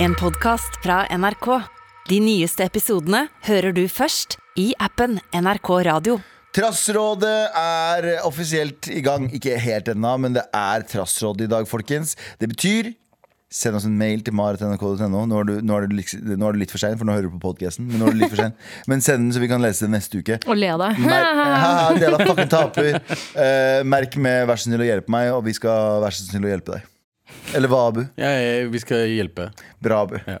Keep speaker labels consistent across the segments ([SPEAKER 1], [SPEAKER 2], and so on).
[SPEAKER 1] En podcast fra NRK. De nyeste episodene hører du først i appen NRK Radio.
[SPEAKER 2] Trassrådet er offisielt i gang. Ikke helt ennå, men det er trassråd i dag, folkens. Det betyr Send oss en mail til maret.nrk.no. Nå, er du- nå, er du liks- nå er du litt for sein, for nå hører du på podkasten. Men, nå er du litt for sein. men send den, så vi kan lese den neste uke.
[SPEAKER 3] Og le av deg.
[SPEAKER 2] Mer, del av fucking taper. Eh, merk med 'vær så snill å hjelpe meg', og vi skal være så snill å hjelpe deg. Eller hva, Abu?
[SPEAKER 4] Ja, ja, vi skal hjelpe.
[SPEAKER 2] Bra, Abu.
[SPEAKER 4] Ja.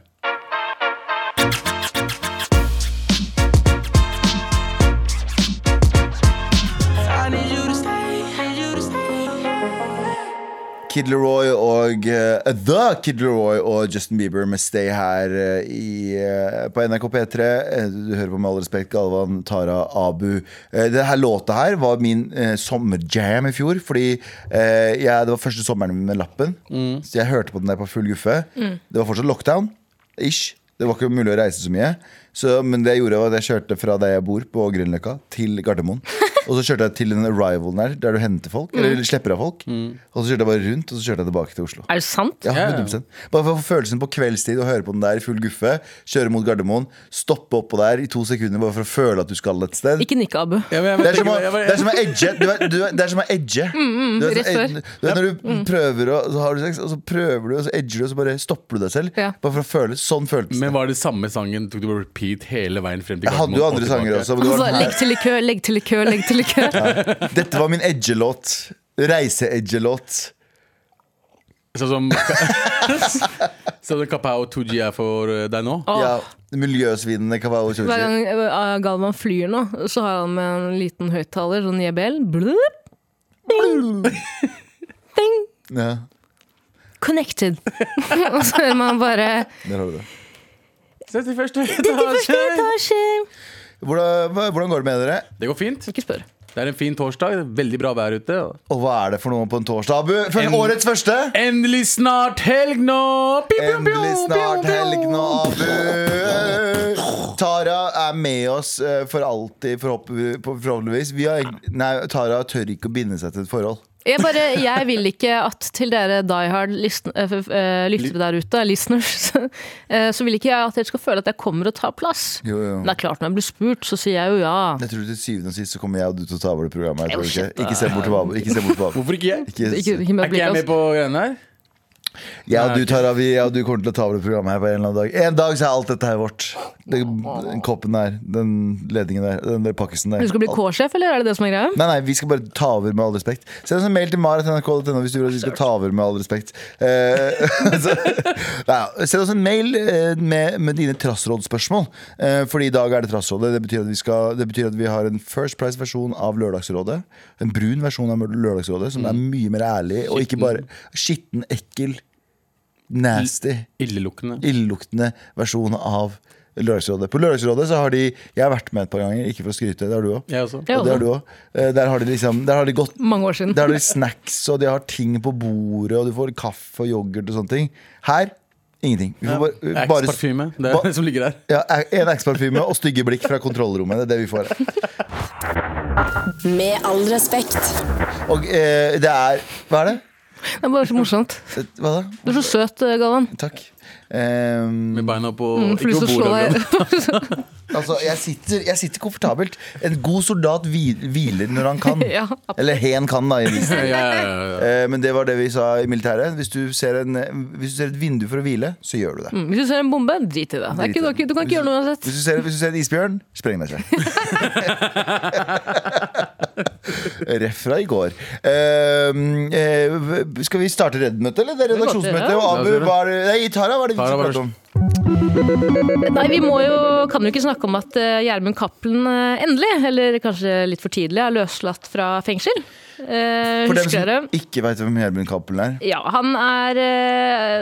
[SPEAKER 2] Kid Leroy og eh, The Kid Leroy og Justin Bieber med Stay her eh, i, eh, på NRK P3. Eh, Du hører på Med all respekt Galvan, Tara, Abu. Eh, det her låta her var min eh, sommerjam i fjor. Fordi eh, jeg, det var første sommeren min med lappen. Så jeg hørte på den der på full guffe. Det var fortsatt lockdown. Ish. Det var ikke mulig å reise så mye. Så, men det jeg gjorde var at jeg kjørte fra der jeg bor, på Grünerløkka, til Gardermoen. Og så kjørte jeg til den arrivalen der, der du henter folk. Eller slipper av folk. Og så kjørte jeg bare rundt, og så kjørte jeg tilbake til Oslo.
[SPEAKER 3] Mm. Er det sant?
[SPEAKER 2] Ja,
[SPEAKER 4] Ja, ja.
[SPEAKER 2] 100% Bare for å få følelsen på kveldstid og høre på den der i full guffe. Kjøre mot Gardermoen, stoppe oppå der i to sekunder bare for å føle at du skal et sted.
[SPEAKER 3] Ikke nikk, Abu.
[SPEAKER 4] Ja, men
[SPEAKER 2] Det
[SPEAKER 4] jeg vet
[SPEAKER 2] er som å- det er
[SPEAKER 4] ikke, jeg,
[SPEAKER 2] som å edge. Du vet- du vet- Det er som å edge. Du vet,
[SPEAKER 3] Mm, rett
[SPEAKER 2] så-
[SPEAKER 3] før. Mm.
[SPEAKER 2] du vet når du prøver å så har du sex, og så prøver du, og så edger du, og så bare stopper du deg selv.
[SPEAKER 3] Ja.
[SPEAKER 2] Bare for å føle Sånn føltes det.
[SPEAKER 4] men var det samme sangen? Tok du bare repeat hele veien frem til
[SPEAKER 2] Jeg hadde jo andre
[SPEAKER 4] Gardermoen og
[SPEAKER 2] sanger
[SPEAKER 4] tilbake?
[SPEAKER 2] også. Men det var
[SPEAKER 3] Altså,
[SPEAKER 2] den her.
[SPEAKER 3] legg til i kø, legg til i kø, legg til i kø.
[SPEAKER 4] Altså,
[SPEAKER 2] Dette var min edgelåt. Reise-edgelåt.
[SPEAKER 4] Sånn som Sånn som Kapow 2G er for eh, deg nå?
[SPEAKER 3] Åh,
[SPEAKER 2] Ja, miljøsvinende Kawaii
[SPEAKER 3] Hver
[SPEAKER 2] Chochi.
[SPEAKER 3] gang eh, Galvan flyr nå, så har han med en liten høyttaler, sånn JBL. Blup, ding,
[SPEAKER 2] Ja,
[SPEAKER 3] connected. Og så hører man bare
[SPEAKER 2] der har du det.
[SPEAKER 4] Ses i første
[SPEAKER 3] Første
[SPEAKER 4] etasje!
[SPEAKER 3] etasje!
[SPEAKER 2] Hvordan, hva- hvordan går det med dere?
[SPEAKER 4] Det går fint.
[SPEAKER 3] Ikke spør.
[SPEAKER 4] Det er en fin torsdag. Veldig bra vær ute.
[SPEAKER 2] Og hva er det for noe på en torsdag, Abu? For
[SPEAKER 4] En-
[SPEAKER 2] årets første!
[SPEAKER 4] Endelig snart helg nå! Pew, pew, pew,
[SPEAKER 2] Endelig snart
[SPEAKER 4] pew, pew.
[SPEAKER 2] helg nå, Abu. Tara er med oss eh, for alltid, forhåp- forhåpentligvis. Vi har, egent- nei, Tara tør ikke å binde seg til et forhold.
[SPEAKER 3] Jeg, bare, jeg vil ikke at til dere Die Hard listen- eh, f- eh, lyttere der ute, listeners, eh, så vil ikke jeg at dere skal føle at jeg kommer og tar plass.
[SPEAKER 2] Jo, jo.
[SPEAKER 3] Men det er klart, når jeg blir spurt, så sier jeg jo ja.
[SPEAKER 2] Jeg tror til syvende og sist så kommer jeg og du til å ta over det programmet. her,
[SPEAKER 3] Jo,
[SPEAKER 2] tror du
[SPEAKER 3] shit,
[SPEAKER 2] Ikke, ikke se bort på Abu. Ikke se bort på Abu.
[SPEAKER 4] Hvorfor ikke jeg?
[SPEAKER 2] Ikke-
[SPEAKER 3] Ikke, ikke med
[SPEAKER 4] Er ikke jeg
[SPEAKER 3] blikket,
[SPEAKER 4] med på greiene her?
[SPEAKER 2] Jeg og du, Tara, vi, jeg og du kommer til å ta over det programmet her på en eller annen dag. En dag så er alt dette her vårt. Det, den koppen der, den ledningen der, den der pakkesen der.
[SPEAKER 3] Du skal bli K-sjef, eller er det det som er greia?
[SPEAKER 2] Nei, nei, vi skal bare ta over med all respekt. Send oss en mail til marat.nrk.no hvis du vil at vi skal ta over med all respekt. Eh, så, nei, send oss en mail eh, med, med dine trassrådspørsmål. Eh, fordi i dag er det Trassrådet. Det betyr, at vi skal, det betyr at vi har en First Price-versjon av Lørdagsrådet. En brun versjon av Lørdagsrådet som er mye mer ærlig og ikke bare skitten, ekkel, nasty
[SPEAKER 4] Illelukkende.
[SPEAKER 2] illeluktende versjon av Lørdagsrådet. På Lørdagsrådet så har de Jeg har vært med et par ganger, ikke for å skryte. Det har du òg.
[SPEAKER 4] Jeg også.
[SPEAKER 3] Ja.
[SPEAKER 2] Og det har du også. Eh, Der har de liksom Der har de gått
[SPEAKER 3] Mange år siden.
[SPEAKER 2] Der har de snacks, og de har ting på bordet, og du får kaffe og yoghurt og sånne ting. Her ingenting. Vi får bare, bare
[SPEAKER 4] X-parfyme. Det er liksom-
[SPEAKER 2] Ba-
[SPEAKER 4] det som ligger der.
[SPEAKER 2] ja, en X-parfyme og stygge blikk fra kontrollrommet. Det er det vi får.
[SPEAKER 1] Med all respekt.
[SPEAKER 2] Og eh, det er Hva er det?
[SPEAKER 3] Det er bare så morsomt.
[SPEAKER 2] Hva da?
[SPEAKER 3] Du er så søt, eh, Galvan.
[SPEAKER 2] Takk. Ehm,
[SPEAKER 4] Med beina på
[SPEAKER 3] Jeg får lyst til å slå
[SPEAKER 4] overgangen.
[SPEAKER 3] deg.
[SPEAKER 2] Altså, jeg sitter, jeg sitter komfortabelt. En god soldat hvil- hviler når han kan.
[SPEAKER 3] Ja.
[SPEAKER 2] Eller hen kan, da. i visen.
[SPEAKER 4] Ja, ja, ja, ja.
[SPEAKER 2] Eh, Men det var det vi sa i militæret. Hvis du ser, en, eh, hvis du ser et vindu for å hvile, så gjør du det.
[SPEAKER 3] Mm, Hvis du ser en bombe, drit i det. det er ikke, du, har ikke- du kan ikke gjøre noe uansett.
[SPEAKER 2] Hvis du ser, hvis du ser en isbjørn, spreng deg selv. Ref fra i går. Eh, eh, skal vi starte Redd-møtet, eller? Det er
[SPEAKER 3] godt, det, ja.
[SPEAKER 2] redaksjonsmøtet. Og Abu, hva er det Nei, Tara, hva er det vi
[SPEAKER 4] Tara
[SPEAKER 2] skal
[SPEAKER 4] var
[SPEAKER 2] prate om?
[SPEAKER 3] Nei, vi må jo, kan jo ikke snakke om at eh, Gjermund Cappelen eh, endelig, eller kanskje litt for tidlig, er løslatt fra fengsel. Eh,
[SPEAKER 2] For dem
[SPEAKER 3] husker dere?
[SPEAKER 2] som ikke veit hvem Gjermund Cappelen er.
[SPEAKER 3] Ja, han er eh,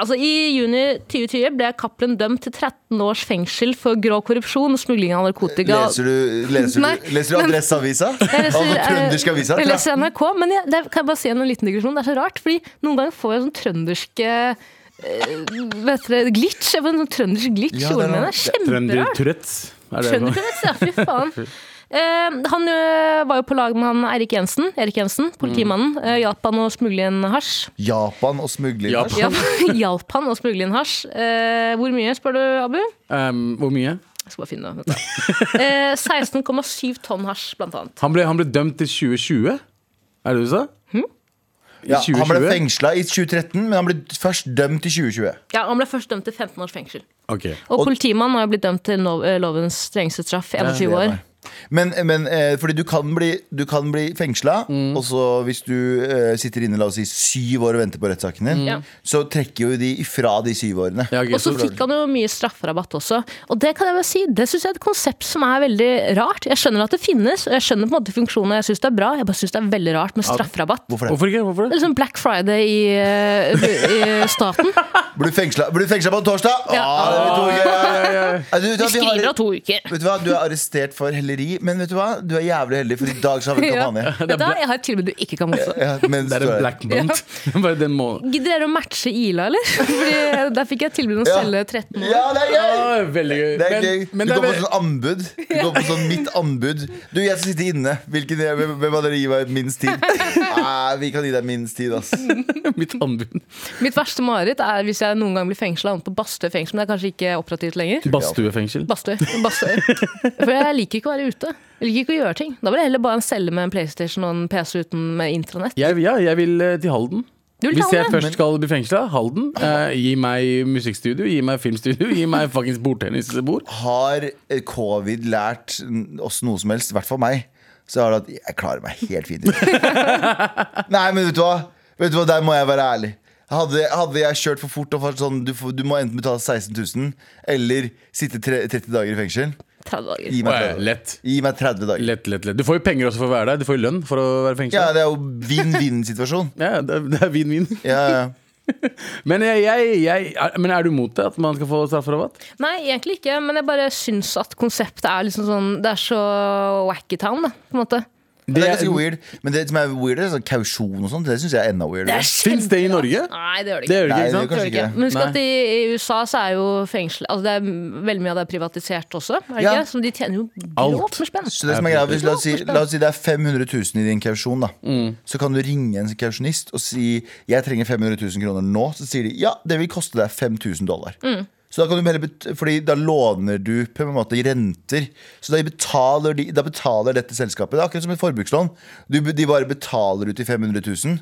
[SPEAKER 3] Altså, I juni 2020 ble Cappelen dømt til 13 års fengsel for grov korrupsjon og smugling av narkotika.
[SPEAKER 2] Leser du, leser
[SPEAKER 3] Nei,
[SPEAKER 2] du, leser du Adresseavisa?
[SPEAKER 3] Jeg leser,
[SPEAKER 2] altså Trøndersk
[SPEAKER 3] eh,
[SPEAKER 2] avisa?
[SPEAKER 3] Jeg leser NRK, men jeg, det, kan jeg bare si en liten digresjon. Det er så rart, fordi noen ganger får jeg sånn trøndersk eh, Vet dere, glitch. Jeg får en sånn trøndersk glitch
[SPEAKER 2] Ja, det
[SPEAKER 3] i
[SPEAKER 2] er
[SPEAKER 3] ordene mine.
[SPEAKER 2] rart.
[SPEAKER 3] Det er Kjemperart.
[SPEAKER 4] Trønder Tourettes. Er det
[SPEAKER 3] Trønder
[SPEAKER 4] noe?
[SPEAKER 3] Tourettes, ja. Fy faen. Eh, han ø, var jo på lag med han Eirik Jensen, Erik
[SPEAKER 2] Mm.
[SPEAKER 3] Jensen politimannen. eh, hjalp han å smugle inn hasj.
[SPEAKER 2] Japan og smugling.
[SPEAKER 4] Ja.
[SPEAKER 2] hasj.
[SPEAKER 3] Ja, hjalp han å smugle inn hasj. Eh, hvor mye, spør du, Abu?
[SPEAKER 4] Um, hvor mye?
[SPEAKER 3] Jeg skal bare finne det. vent da. Eh, 16,7 tonn hasj, blant annet.
[SPEAKER 4] Han ble, han ble dømt til 2020, er det du sa? I
[SPEAKER 2] Ja, han ble
[SPEAKER 4] 2020?
[SPEAKER 2] fengsla i 2013, men han ble først dømt i 2020.
[SPEAKER 3] Ja, Han ble først dømt til 15 års fengsel.
[SPEAKER 4] Ok.
[SPEAKER 3] Og, politimannen har jo blitt dømt til no- eh, lovens strengeste straff, 21 år.
[SPEAKER 2] Men, men eh, fordi du kan bli, du kan bli fengsla,
[SPEAKER 3] Mm.
[SPEAKER 2] og så hvis du eh, sitter inne la oss si, syv år og venter på rettssaken din,
[SPEAKER 3] Ja.
[SPEAKER 2] så trekker jo de ifra de syv årene.
[SPEAKER 4] Ja, ok,
[SPEAKER 3] Og så
[SPEAKER 4] så-
[SPEAKER 3] fikk han jo mye strafferabatt også. Og det kan jeg vel si, det syns jeg er et konsept som er veldig rart. Jeg skjønner at det finnes, og jeg skjønner på en måte funksjonen, og jeg syns det er bra. Jeg bare syns det er veldig rart med strafferabatt. Det
[SPEAKER 2] Hvorfor det?
[SPEAKER 4] Hvorfor ikke? Hvorfor
[SPEAKER 3] er
[SPEAKER 4] det?
[SPEAKER 3] liksom Black Friday i, eh, i staten.
[SPEAKER 2] Blir du fengsla blir du fengsla på en torsdag?
[SPEAKER 3] Ja.
[SPEAKER 2] Ah, det blir to uker, ja, ja, ja. Eh, du, vet du
[SPEAKER 3] De
[SPEAKER 2] hva, vi har-
[SPEAKER 3] skriver av to uker.
[SPEAKER 2] Vet Du hva, du er arrestert for helleri, men vet du hva? Du er jævlig heldig, for i dag så har vi en kampanje.
[SPEAKER 3] Vet du hva, jeg har et tilbud du ikke kan motstå.
[SPEAKER 2] Ja, men
[SPEAKER 4] Det er en black bunt. Bare den må...
[SPEAKER 3] Gidder dere å matche Ila, eller? Fordi Der fikk jeg tilbud om å
[SPEAKER 2] Ja.
[SPEAKER 3] selge 13 år.
[SPEAKER 2] ja, det er gøy!
[SPEAKER 4] Ah, veldig gøy.
[SPEAKER 2] Det er
[SPEAKER 4] Men-
[SPEAKER 2] gøy.
[SPEAKER 4] men
[SPEAKER 2] du
[SPEAKER 4] det
[SPEAKER 2] går
[SPEAKER 4] er
[SPEAKER 2] på
[SPEAKER 4] ve-
[SPEAKER 2] sånn anbud. Du går på sånn mitt anbud. Du, jeg skal sitte inne. Hvilken, hvem hvem av dere gir meg minst tid? Nei, vi kan gi deg minst tid, ass.
[SPEAKER 4] Mitt anbud.
[SPEAKER 3] Mitt verste mareritt er hvis jeg noen gang blir fengsla på Bastøy fengsel, men det er kanskje ikke operativt lenger.
[SPEAKER 4] Badstuefengsel.
[SPEAKER 3] Bastøy. Bastøy. For jeg liker ikke å være ute. Jeg liker ikke å gjøre ting. Da vil jeg heller bare ha en celle med en PlayStation og en PC uten med intranett.
[SPEAKER 4] Jeg, ja, jeg vil eh, til Halden.
[SPEAKER 3] Du vil til
[SPEAKER 4] Hvis jeg
[SPEAKER 3] Halden, ja.
[SPEAKER 4] først skal bli fengsla, Halden. Eh, gi meg musikkstudio, gi meg filmstudio, gi meg fuckings bordtennisbord.
[SPEAKER 2] Har eh, covid lært oss noe som helst, i hvert fall meg, så har det at jeg klarer meg helt fint. Nei, men vet du hva? Vet du hva, Der må jeg være ærlig. Hadde, hadde jeg kjørt for fort og vært sånn du, får- du må enten betale 16 000 eller sitte tre, 30 dager i fengsel.
[SPEAKER 3] 30 dager.
[SPEAKER 2] Gi meg 30,
[SPEAKER 4] Lett.
[SPEAKER 2] gi meg 30 dager.
[SPEAKER 4] Lett, lett, lett. Du får jo penger også for å være der. Du får jo lønn for å være
[SPEAKER 2] Ja,
[SPEAKER 4] fengsla.
[SPEAKER 2] det er jo vinn-vinn-situasjon.
[SPEAKER 4] Ja, det er- det er vin-vin.
[SPEAKER 2] Ja, ja.
[SPEAKER 4] Men, jeg, jeg, jeg, er, men er du mot det? At man skal få strafferabatt?
[SPEAKER 3] Nei, egentlig ikke, men jeg bare syns at konseptet er liksom sånn Det er så wackytown, da, på en måte.
[SPEAKER 2] Det er ganske weird. Men det som er weird, er sånn kausjon og sånt. Det syns jeg er enda weirdere.
[SPEAKER 4] Fins det i Norge?
[SPEAKER 3] Nei, det gjør det ikke.
[SPEAKER 4] Det gjør det
[SPEAKER 2] Nei,
[SPEAKER 4] ikke,
[SPEAKER 2] det gjør
[SPEAKER 4] ikke sant?
[SPEAKER 2] kanskje
[SPEAKER 3] Tror jeg
[SPEAKER 2] ikke.
[SPEAKER 3] Men husk
[SPEAKER 4] Nei.
[SPEAKER 3] at i, i USA så er jo fengsel altså det er m- Veldig mye av det er privatisert også. Er det
[SPEAKER 2] Ja.
[SPEAKER 3] ikke? Så de tjener jo
[SPEAKER 4] Alt.
[SPEAKER 3] grovt med spenn.
[SPEAKER 2] Så det som er greia, hvis, la, oss si, la oss si det er 500 000 i din kausjon, da.
[SPEAKER 4] Mm.
[SPEAKER 2] Så kan du ringe en kausjonist og si 'jeg trenger 500 000 kroner nå'. Så sier de 'ja, det vil koste deg 5000 dollar'.
[SPEAKER 3] Mm.
[SPEAKER 2] Så da kan du heller bet fordi da låner du på en måte renter. Så da betaler, de, da betaler dette selskapet. Det er akkurat som et forbrukslån. Du, de bare betaler ut de 500 000.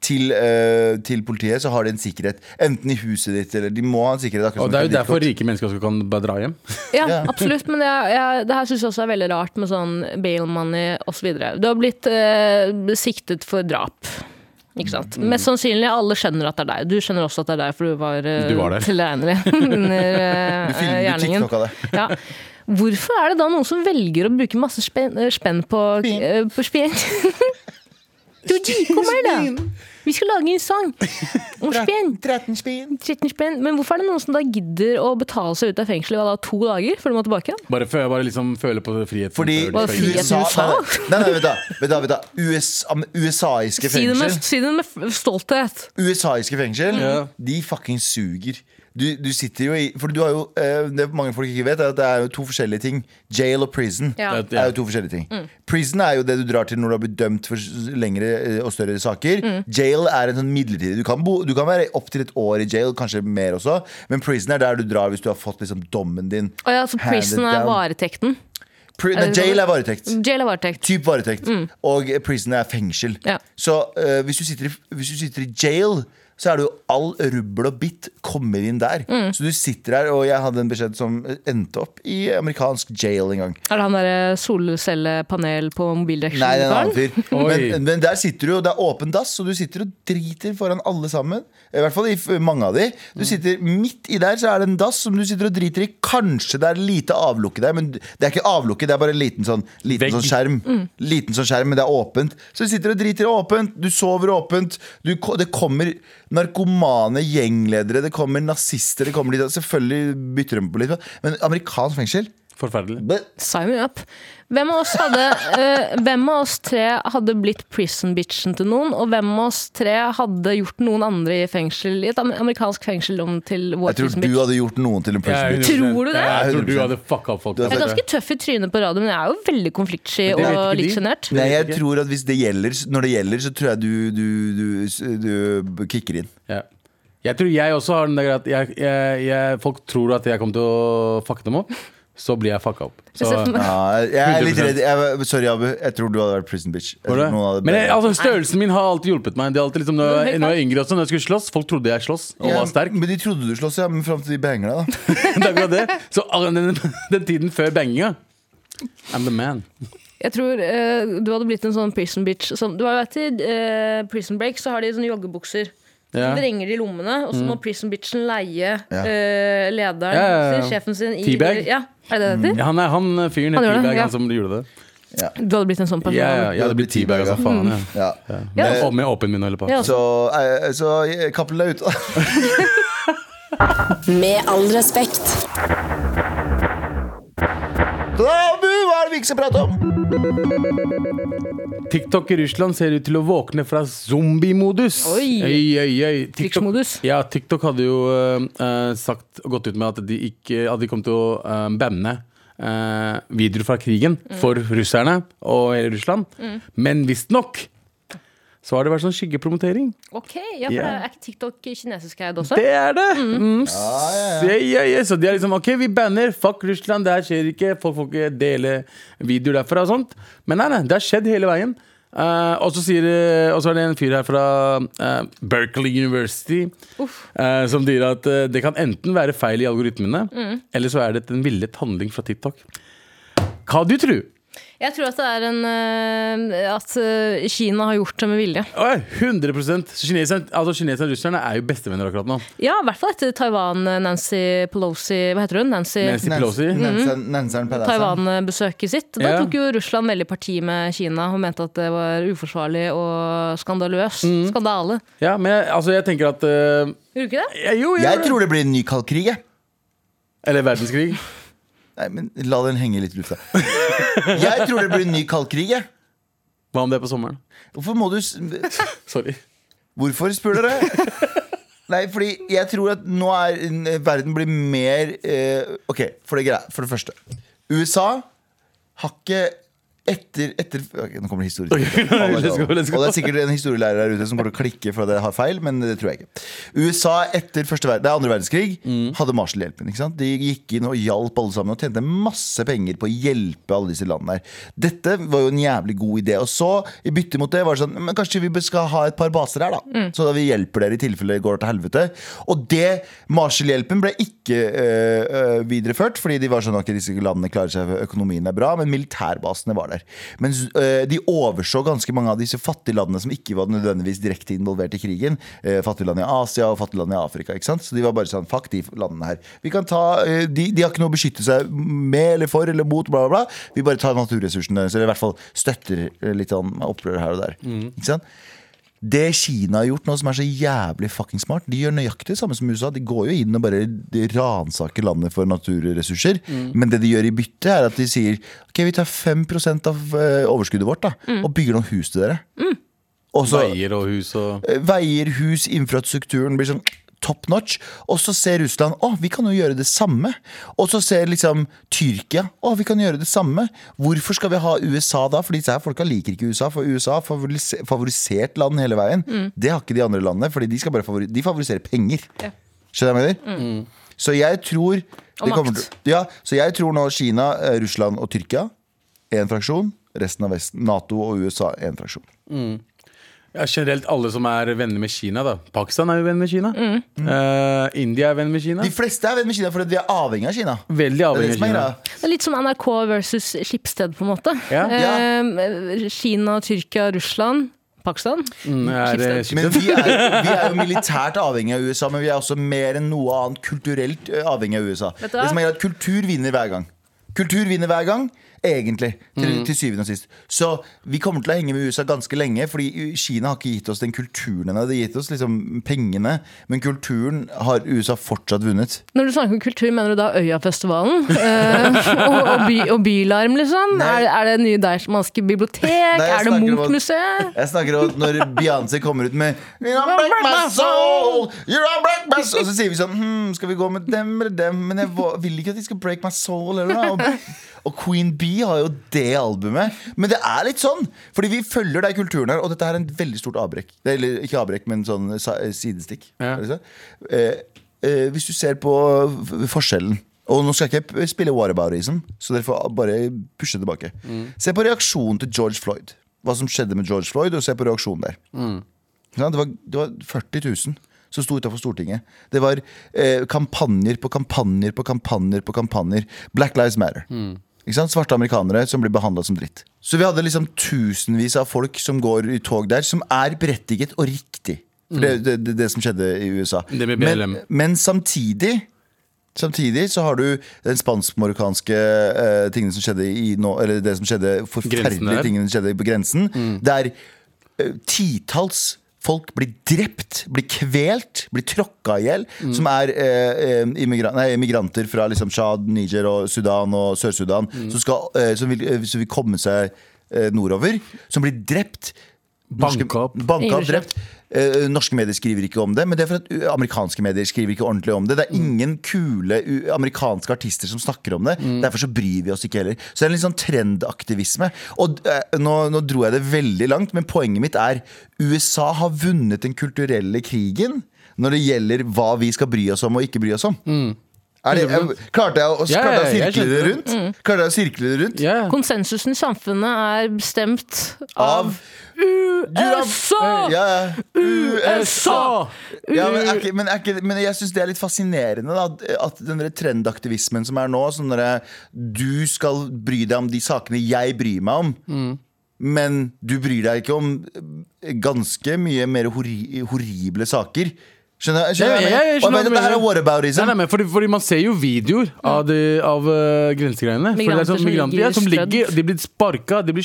[SPEAKER 2] Til, eh, til politiet så har de en sikkerhet. Enten i huset ditt eller De må ha en sikkerhet. akkurat som
[SPEAKER 4] Og Det
[SPEAKER 2] et
[SPEAKER 4] er jo derfor
[SPEAKER 2] kredittkort.
[SPEAKER 4] rike mennesker også kan bare dra hjem.
[SPEAKER 3] Ja, absolutt, men jeg, jeg, det her syns jeg også er veldig rart med sånn bail money osv. Du har blitt eh, siktet for drap. Ikke sant? Mest sannsynlig alle skjønner at det er deg. Du skjønner også at det er deg, for du var, eh,
[SPEAKER 4] Du var der.
[SPEAKER 3] tilregnelig under eh,
[SPEAKER 2] Du filmer
[SPEAKER 3] eh,
[SPEAKER 2] jo
[SPEAKER 3] gjerningen.
[SPEAKER 2] TikTok av det.
[SPEAKER 3] Ja. Hvorfor er det da noen som velger å bruke masse spenn, eh, spenn på
[SPEAKER 2] Spinn.
[SPEAKER 3] eh, på spinn? Du, de kommer da! Vi skal lage en sang om spenn.
[SPEAKER 2] 13 spinn.
[SPEAKER 3] 13 spenn. Men hvorfor er det noen som da gidder å betale seg ut av fengselet i hva da, to dager før de må tilbake? igjen?
[SPEAKER 4] Bare, fø- bare liksom føle på frihet.
[SPEAKER 2] Fordi
[SPEAKER 3] Var det frihet i
[SPEAKER 2] USA
[SPEAKER 3] USA?
[SPEAKER 2] Nei, nei, nei, vent da. Vent da, vent da. USA, USAiske
[SPEAKER 3] Si det med,
[SPEAKER 2] fengsel,
[SPEAKER 3] si det med f- stolthet.
[SPEAKER 2] USAiske fengsel
[SPEAKER 4] Ja.
[SPEAKER 2] de fucking suger. Du, du sitter jo i For du har jo eh, Det mange folk ikke vet, er at det er jo to forskjellige ting. Jail og prison.
[SPEAKER 3] Ja. Mm.
[SPEAKER 2] Det er jo to forskjellige ting. Prison er jo det du drar til når du har blitt dømt for s- lengre eh, og større saker.
[SPEAKER 3] Mm.
[SPEAKER 2] Jail er en sånn midlertidig du kan, bo, du kan være opptil et år i jail, kanskje mer også. Men prison er der du drar hvis du har fått liksom, dommen din.
[SPEAKER 3] Å ja, så prison
[SPEAKER 2] handed
[SPEAKER 3] er
[SPEAKER 2] down.
[SPEAKER 3] varetekten.
[SPEAKER 2] Pri nei,
[SPEAKER 3] sånn-
[SPEAKER 2] jail er varetekt.
[SPEAKER 3] Jail er varetekt.
[SPEAKER 2] Typ varetekt. Og prison er fengsel.
[SPEAKER 3] Ja.
[SPEAKER 2] Så eh, hvis, du sitter i, hvis du sitter i jail, så er det jo all rubbel og bitt kommer inn der. Så du sitter her, og jeg hadde en beskjed som endte opp i amerikansk jail en gang.
[SPEAKER 3] Er det han derre solcellepanel på mobildekket?
[SPEAKER 2] Nei, det er en annen fyr.
[SPEAKER 4] Oi.
[SPEAKER 2] Men, men der sitter du, og det er åpen dass, og du sitter og driter foran alle sammen. I hvert fall i f- mange av de. Du sitter midt i der, så er det en dass som du sitter og driter i. Kanskje det er lite avlukke der, men det er ikke avlukke, det er bare en liten sånn, liten
[SPEAKER 4] Vegg.
[SPEAKER 2] sånn skjerm. Liten sånn skjerm, men det er åpent. Så du sitter og driter åpent, du sover åpent. Du, ko- det kommer narkomane gjengledere, det kommer nazister, det kommer litt Selvfølgelig bytter de på litt, men amerikansk fengsel
[SPEAKER 4] Forferdelig.
[SPEAKER 2] But
[SPEAKER 3] Sign me up. Hvem av oss, hadde, eh, hvem av oss tre hadde blitt prison bitchen til noen? Og hvem av oss tre hadde gjort noen andre i fengsel i et am- amerikansk fengsel om til vår
[SPEAKER 2] jeg tror
[SPEAKER 3] prison
[SPEAKER 2] du
[SPEAKER 3] bitch?
[SPEAKER 2] hadde gjort noen til en
[SPEAKER 4] Jeg er
[SPEAKER 2] prison bitch.
[SPEAKER 4] 100%
[SPEAKER 3] Tror du det?
[SPEAKER 4] Jeg tror du
[SPEAKER 2] 100%.
[SPEAKER 4] hadde fucka opp folk.
[SPEAKER 2] Du er
[SPEAKER 3] Jeg er
[SPEAKER 4] altså.
[SPEAKER 3] ganske tøff i trynet på radio, men jeg er jo veldig konfliktsky
[SPEAKER 4] Men det vet
[SPEAKER 3] og
[SPEAKER 4] ikke de.
[SPEAKER 3] litt sjenert.
[SPEAKER 2] Nei, jeg tror at hvis det gjelder, når det gjelder, så tror jeg du, du, du, du kicker inn.
[SPEAKER 4] Ja. Jeg tror jeg også har den der at jeg, jeg, jeg, folk tror at jeg kommer til å fucke dem opp. Så blir jeg fucka opp. Så,
[SPEAKER 3] Jeg ser for meg-
[SPEAKER 2] Ja, jeg er litt
[SPEAKER 4] 100%.
[SPEAKER 2] redd. Jeg, sorry, Abu. Jeg tror du hadde vært prison bitch. Jeg
[SPEAKER 4] Tror
[SPEAKER 2] tror
[SPEAKER 4] du det?
[SPEAKER 2] noen hadde-
[SPEAKER 4] Men jeg, altså, størrelsen min har alltid hjulpet meg. Det er alltid liksom, når, jeg, når jeg var yngre også, når jeg skulle slåss, folk trodde jeg sloss og
[SPEAKER 2] Ja,
[SPEAKER 4] var sterk.
[SPEAKER 2] Men de trodde du sloss, ja. Men fram til de banger deg, da.
[SPEAKER 4] Det er akkurat det. Så all- den, den tiden før banginga I'm the man.
[SPEAKER 3] Jeg tror eh, du hadde blitt en sånn prison bitch. Som, du har jo vært i eh, prison break, så har de sånne joggebukser. Så
[SPEAKER 4] Ja. Mm.
[SPEAKER 3] vrenger de lommene, og så må prison bitchen leie
[SPEAKER 2] Ja.
[SPEAKER 3] eh,
[SPEAKER 4] Ja,
[SPEAKER 3] lederen,
[SPEAKER 4] ja, ja.
[SPEAKER 3] sin- sjefen sin, i
[SPEAKER 4] Teabag?
[SPEAKER 3] Ja, er det det heter?
[SPEAKER 4] Ja, han, er, han fyren
[SPEAKER 3] Han
[SPEAKER 4] het
[SPEAKER 3] gjorde det,
[SPEAKER 4] Teabag,
[SPEAKER 3] ja.
[SPEAKER 4] han som gjorde det.
[SPEAKER 3] Du hadde blitt en sånn
[SPEAKER 4] Mm. Ja,
[SPEAKER 3] person.
[SPEAKER 4] ja, jeg hadde blitt Teabag, altså. Faen, ja.
[SPEAKER 2] Ja.
[SPEAKER 4] Med, og med åpen munn, holder på.
[SPEAKER 3] Ja.
[SPEAKER 2] Så, eh, så eh, kappel deg ut.
[SPEAKER 1] Med all respekt.
[SPEAKER 2] Abu, hva er det vi ikke skal prate om?
[SPEAKER 4] TikTok i Russland ser ut til å våkne fra zombiemodus.
[SPEAKER 3] Oi.
[SPEAKER 4] Oi, oi, oi. TikTok-
[SPEAKER 3] Krigsmodus.
[SPEAKER 4] Ja, TikTok hadde jo eh, sagt, gått ut med at de, ikke, at de kom til å eh, banne eh, videoer fra krigen
[SPEAKER 3] Mm.
[SPEAKER 4] for russerne og hele Russland. Men visstnok så har det vært sånn skyggepromotering.
[SPEAKER 3] Ok, ja, for
[SPEAKER 4] Ja.
[SPEAKER 3] er ikke TikTok kinesisk eid også?
[SPEAKER 4] Det er det! Mm. Ja, ja, ja. Så de er liksom OK, vi banner. Fuck Russland, det her skjer ikke. Folk får ikke dele videoer derfra og sånt. Men nei, nei, det har skjedd hele veien. Eh, og så sier det- og så er det en fyr her fra eh, Berkeley University eh, som sier at eh, det kan enten være feil i algoritmene, eller så er det en villet handling fra TikTok. Hva du tror?
[SPEAKER 3] Jeg tror at det er en eh, At eh, Kina har gjort det med vilje.
[SPEAKER 4] Oi, 100 Så kineserne, altså kineserne og russerne er jo bestevenner akkurat nå.
[SPEAKER 3] Ja, i hvert fall etter Taiwan, eh, Nancy Pelosi Hva heter hun? Nancy,
[SPEAKER 4] Nancy Pelosi.
[SPEAKER 2] Nanseren Pedasseren.
[SPEAKER 3] Taiwan-besøket sitt. Da
[SPEAKER 4] Ja.
[SPEAKER 3] tok jo Russland veldig parti med Kina og mente at det var uforsvarlig og skandaløst.
[SPEAKER 2] Mm.
[SPEAKER 3] Skandale.
[SPEAKER 4] Ja, men jeg, altså, jeg tenker at eh,
[SPEAKER 3] Gjorde du ikke det?
[SPEAKER 4] ja, Jo, jeg
[SPEAKER 2] Jeg
[SPEAKER 4] gjør det.
[SPEAKER 2] tror det blir en ny kald krig, jeg.
[SPEAKER 4] Eller verdenskrig.
[SPEAKER 2] Nei, men la den henge litt i lufta. Jeg tror det blir en ny kald krig, jeg.
[SPEAKER 4] Hva om det er på sommeren?
[SPEAKER 2] Hvorfor må du s-
[SPEAKER 4] Sorry.
[SPEAKER 2] Hvorfor spør dere? Nei, fordi jeg tror at nå er verden blir mer eh, Ok, for det, greia, for det første. USA har ikke etter, etter ok, Nå kommer det historie.
[SPEAKER 4] let's go, let's go.
[SPEAKER 2] Og det er sikkert en historielærer der ute som kommer til å klikke for at jeg har feil, men det tror jeg ikke. USA etter første verden, det er andre verdenskrig
[SPEAKER 4] Mm.
[SPEAKER 2] hadde Marshall-hjelpen. ikke sant? De gikk inn og hjalp alle sammen og tjente masse penger på å hjelpe alle disse landene her. Dette var jo en jævlig god idé. Og så, i bytte mot det, var det sånn Men kanskje vi skal ha et par baser her, da. Så da vi hjelper dere i tilfelle det går til helvete. Og det Marshall-hjelpen ble ikke øh, øh, videreført, fordi de var sånn at disse landene klarer seg, økonomien er bra, men militærbasene var der. Mens øh, de overså ganske mange av disse fattige landene som ikke var nødvendigvis direkte involvert i krigen. Eh, fattige land i Asia og fattige land i Afrika. ikke sant? Så de var bare sånn Fuck de landene her. Vi kan ta, øh, de, de har ikke noe å beskytte seg med eller for eller mot, bla, bla, bla. Vi bare tar naturressursene deres, eller i hvert fall støtter eh, litt sånn opprør her og der. Ikke sant? Det Kina har gjort nå som er så jævlig fucking smart De gjør nøyaktig det samme som USA De går jo inn og bare de ransaker landet for naturressurser Men det de gjør i bytte er at de sier Ok, vi tar 5% av eh, overskuddet vårt da Og bygger noen hus til dere Og så
[SPEAKER 4] Veier og hus og
[SPEAKER 2] eh, veier, hus, infrastrukturen blir sånn top notch. Og så ser Russland å, vi kan jo gjøre det samme. Og så ser liksom Tyrkia å, vi kan gjøre det samme. Hvorfor skal vi ha USA da? For disse her folka liker ikke USA. For USA har favorise- favorisert land hele veien. Det har ikke de andre landene, Fordi de, skal bare favori de favoriserer penger. Skjønner du hva jeg mener? Så jeg tror det kommer
[SPEAKER 3] makt.
[SPEAKER 2] til- Ja, så jeg tror nå Kina, eh, Russland og Tyrkia én fraksjon. Resten av Vesten, Nato og USA én fraksjon.
[SPEAKER 4] ja, Generelt alle som er venner med Kina, da. Pakistan er jo venn med Kina.
[SPEAKER 3] Mm.
[SPEAKER 4] Eh, India er venn med Kina.
[SPEAKER 2] Mm. De fleste er venn med Kina fordi de er avhengig av Kina.
[SPEAKER 4] Veldig
[SPEAKER 2] Det er det
[SPEAKER 4] avhengig av
[SPEAKER 2] som er
[SPEAKER 4] Kina.
[SPEAKER 2] greia.
[SPEAKER 3] Det er litt som NRK versus Skipsted, på en måte.
[SPEAKER 4] Ja.
[SPEAKER 3] Eh, Kina, Tyrkia, Russland, Pakistan.
[SPEAKER 4] Mm, er, eh,
[SPEAKER 3] Skipsted.
[SPEAKER 2] Men
[SPEAKER 4] Skipsted.
[SPEAKER 2] vi er, vi er jo militært avhengig av USA, men vi er også mer enn noe annet kulturelt eh, avhengig av USA.
[SPEAKER 3] Vet
[SPEAKER 2] Det
[SPEAKER 3] du hva?
[SPEAKER 2] som er greia, er at Kultur vinner hver gang. Kultur vinner hver gang. egentlig. Til,
[SPEAKER 4] Mm.
[SPEAKER 2] til syvende og sist. Så vi kommer til å henge med USA ganske lenge, fordi Kina har ikke gitt oss den kulturen ennå. De har gitt oss liksom pengene, men kulturen har USA fortsatt vunnet.
[SPEAKER 3] Når du snakker om kultur, mener du da Øyafestivalen? Eh, og, og, by, og Bylarm, liksom?
[SPEAKER 2] Nei.
[SPEAKER 3] Er, er det nye Deichmanske bibliotek?
[SPEAKER 2] Nei, jeg
[SPEAKER 3] er det
[SPEAKER 2] snakker om at-
[SPEAKER 3] Munch-museet?
[SPEAKER 2] Jeg snakker om at når Beyoncé kommer ut med You're break my soul, you're break my soul Og så sier vi sånn hmm, Skal vi gå med dem eller dem Men jeg vå- vil ikke at de skal break my soul eller noe Og, og Queen B har jo det albumet Men det er litt sånn Fordi vi følger deg i kulturen her Og dette er en veldig stort avbrekk Eller ikke avbrekk, men sånn sa- sidestikk
[SPEAKER 4] Ja.
[SPEAKER 2] Er det så? eh, eh, Hvis du ser på f- forskjellen og nå skal jeg ikke p- spille whataboutism, så dere får bare pushe tilbake. Se på reaksjonen til George Floyd. Hva som skjedde med George Floyd, og se på reaksjonen der. Ikke sant? Det, var, det var 40 000 som sto utenfor Stortinget. Det var eh, kampanjer på kampanjer på kampanjer på kampanjer. Black Lives Matter.
[SPEAKER 4] Mm.
[SPEAKER 2] Ikke sant? Svarte amerikanere som blir behandla som dritt. Så vi hadde liksom tusenvis av folk som går i tog der, som er berettiget og riktig. For det, det, det, det som skjedde i USA.
[SPEAKER 4] Mm. Det blir
[SPEAKER 2] men,
[SPEAKER 4] BLM.
[SPEAKER 2] men samtidig Samtidig så har du den spansk-marokkanske eh, tingene som skjedde i nå, eller det som skjedde
[SPEAKER 4] Grensen Mm. der.
[SPEAKER 2] forferdelige tingene som skjedde på grensen. Der eh, titalls folk blir drept, blir kvelt, blir tråkka i hjel. Som er eh, eh, immigra nei, migranter fra liksom Tsjad, Niger og Sudan og Sør-Sudan. Som, skal, eh, som, vil, eh, som vil komme seg eh, nordover. Som blir drept. Norske-
[SPEAKER 4] Banka opp.
[SPEAKER 2] Banka
[SPEAKER 3] Ingen
[SPEAKER 2] opp, drept. Eh, norske medier skriver ikke om det, men det er for at uh, amerikanske medier skriver ikke ordentlig om det. Det er
[SPEAKER 4] Mm.
[SPEAKER 2] ingen kule u- amerikanske artister som snakker om det.
[SPEAKER 4] Mm.
[SPEAKER 2] Derfor så bryr vi oss ikke heller. Så det er en litt sånn trendaktivisme. Og eh, nå, nå dro jeg det veldig langt, men poenget mitt er USA har vunnet den kulturelle krigen når det gjelder hva vi skal bry oss om og ikke bry oss om. Er det, eh, klarte jeg å, klarte jeg å
[SPEAKER 4] Mm. Ja, ja, jeg
[SPEAKER 2] sirkle det
[SPEAKER 4] skjønner Mm.
[SPEAKER 2] rundt? Klarte jeg å sirkle det rundt?
[SPEAKER 4] Ja.
[SPEAKER 3] Konsensusen i samfunnet er bestemt av
[SPEAKER 2] Av USA! Ja, ja. Eh,
[SPEAKER 3] Eh,
[SPEAKER 4] USA!
[SPEAKER 2] Ja, men, er ikke, men, er ikke, men jeg syns det er litt fascinerende da, at- at den der trendaktivismen som er nå, sånn derre Du skal bry deg om de sakene jeg bryr meg om.
[SPEAKER 4] Mm.
[SPEAKER 2] Men du bryr deg ikke om eh, ganske mye mer hori, horrible saker. Skjønner, skjønner
[SPEAKER 4] Ja,
[SPEAKER 2] jeg?
[SPEAKER 4] ja, jeg skjønner
[SPEAKER 2] og
[SPEAKER 4] hva
[SPEAKER 2] vet,
[SPEAKER 4] du
[SPEAKER 2] du, det her
[SPEAKER 4] mener.
[SPEAKER 2] er whataboutism.
[SPEAKER 4] Nei, nei, men fordi, fordi man ser jo videoer av, de, av eh, grensegreiene. For det
[SPEAKER 3] Migranter
[SPEAKER 4] er sånn
[SPEAKER 3] som
[SPEAKER 4] migranter
[SPEAKER 3] ligger
[SPEAKER 4] ja, som
[SPEAKER 3] strødd.
[SPEAKER 4] ligger, De blir sparka, de blir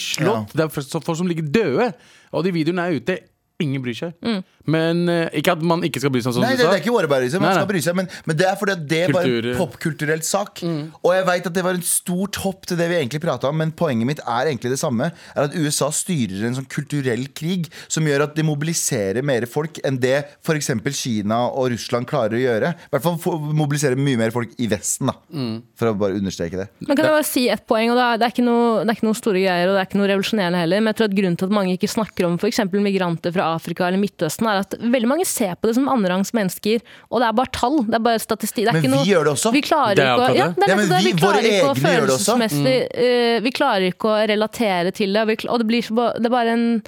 [SPEAKER 2] Ja.
[SPEAKER 4] slått. Det er folk som- folk som ligger døde. Og de videoene er ute. Ingen bryr seg.
[SPEAKER 3] Mm.
[SPEAKER 4] Men eh, ikke at man ikke skal bry seg, sånn
[SPEAKER 2] Nei,
[SPEAKER 4] som
[SPEAKER 2] det,
[SPEAKER 4] du
[SPEAKER 2] det
[SPEAKER 4] sa.
[SPEAKER 2] er ikke whataboutism. Man
[SPEAKER 4] Nei,
[SPEAKER 2] skal
[SPEAKER 4] nei.
[SPEAKER 2] bry seg, men, men det er fordi at det var en
[SPEAKER 4] Kultur- Mm.
[SPEAKER 2] popkulturell sak. Og jeg vet at det var en stort hopp til det vi egentlig prata om, men poenget mitt er egentlig det samme. Er at USA styrer en sånn kulturell krig som gjør at det mobiliserer mer folk enn det f.eks. Kina og Russland klarer å gjøre. I hvert fall for- mobiliserer mye mer folk i Vesten, da.
[SPEAKER 4] Mm.
[SPEAKER 2] For å bare understreke det.
[SPEAKER 3] Men kan jeg bare si ett poeng, og det er, det, er ikke noe, det er ikke noe store greier, og det er ikke noe revolusjonerende heller, men jeg tror at grunnen til at mange ikke snakker om f.eks. migranter fra Afrika eller Midtøsten, er at veldig mange ser på det som annenrangs mennesker, og det er bare tall, det er bare statistikk. Det er
[SPEAKER 2] Men
[SPEAKER 3] ikke
[SPEAKER 2] vi
[SPEAKER 3] noe,
[SPEAKER 2] gjør det også.
[SPEAKER 3] Vi klarer
[SPEAKER 4] Det er
[SPEAKER 3] ikke å,
[SPEAKER 4] akkurat
[SPEAKER 3] ja,
[SPEAKER 4] det.
[SPEAKER 3] det er
[SPEAKER 2] Ja, men
[SPEAKER 3] nettopp det.
[SPEAKER 2] vi-
[SPEAKER 3] Vi
[SPEAKER 2] våre
[SPEAKER 3] klarer ikke å
[SPEAKER 2] egne gjør det også. Mm.
[SPEAKER 3] følelsesmessig eh, Vi klarer ikke å relatere til det, og, vi, kl- og det, blir så, ba- det er bare en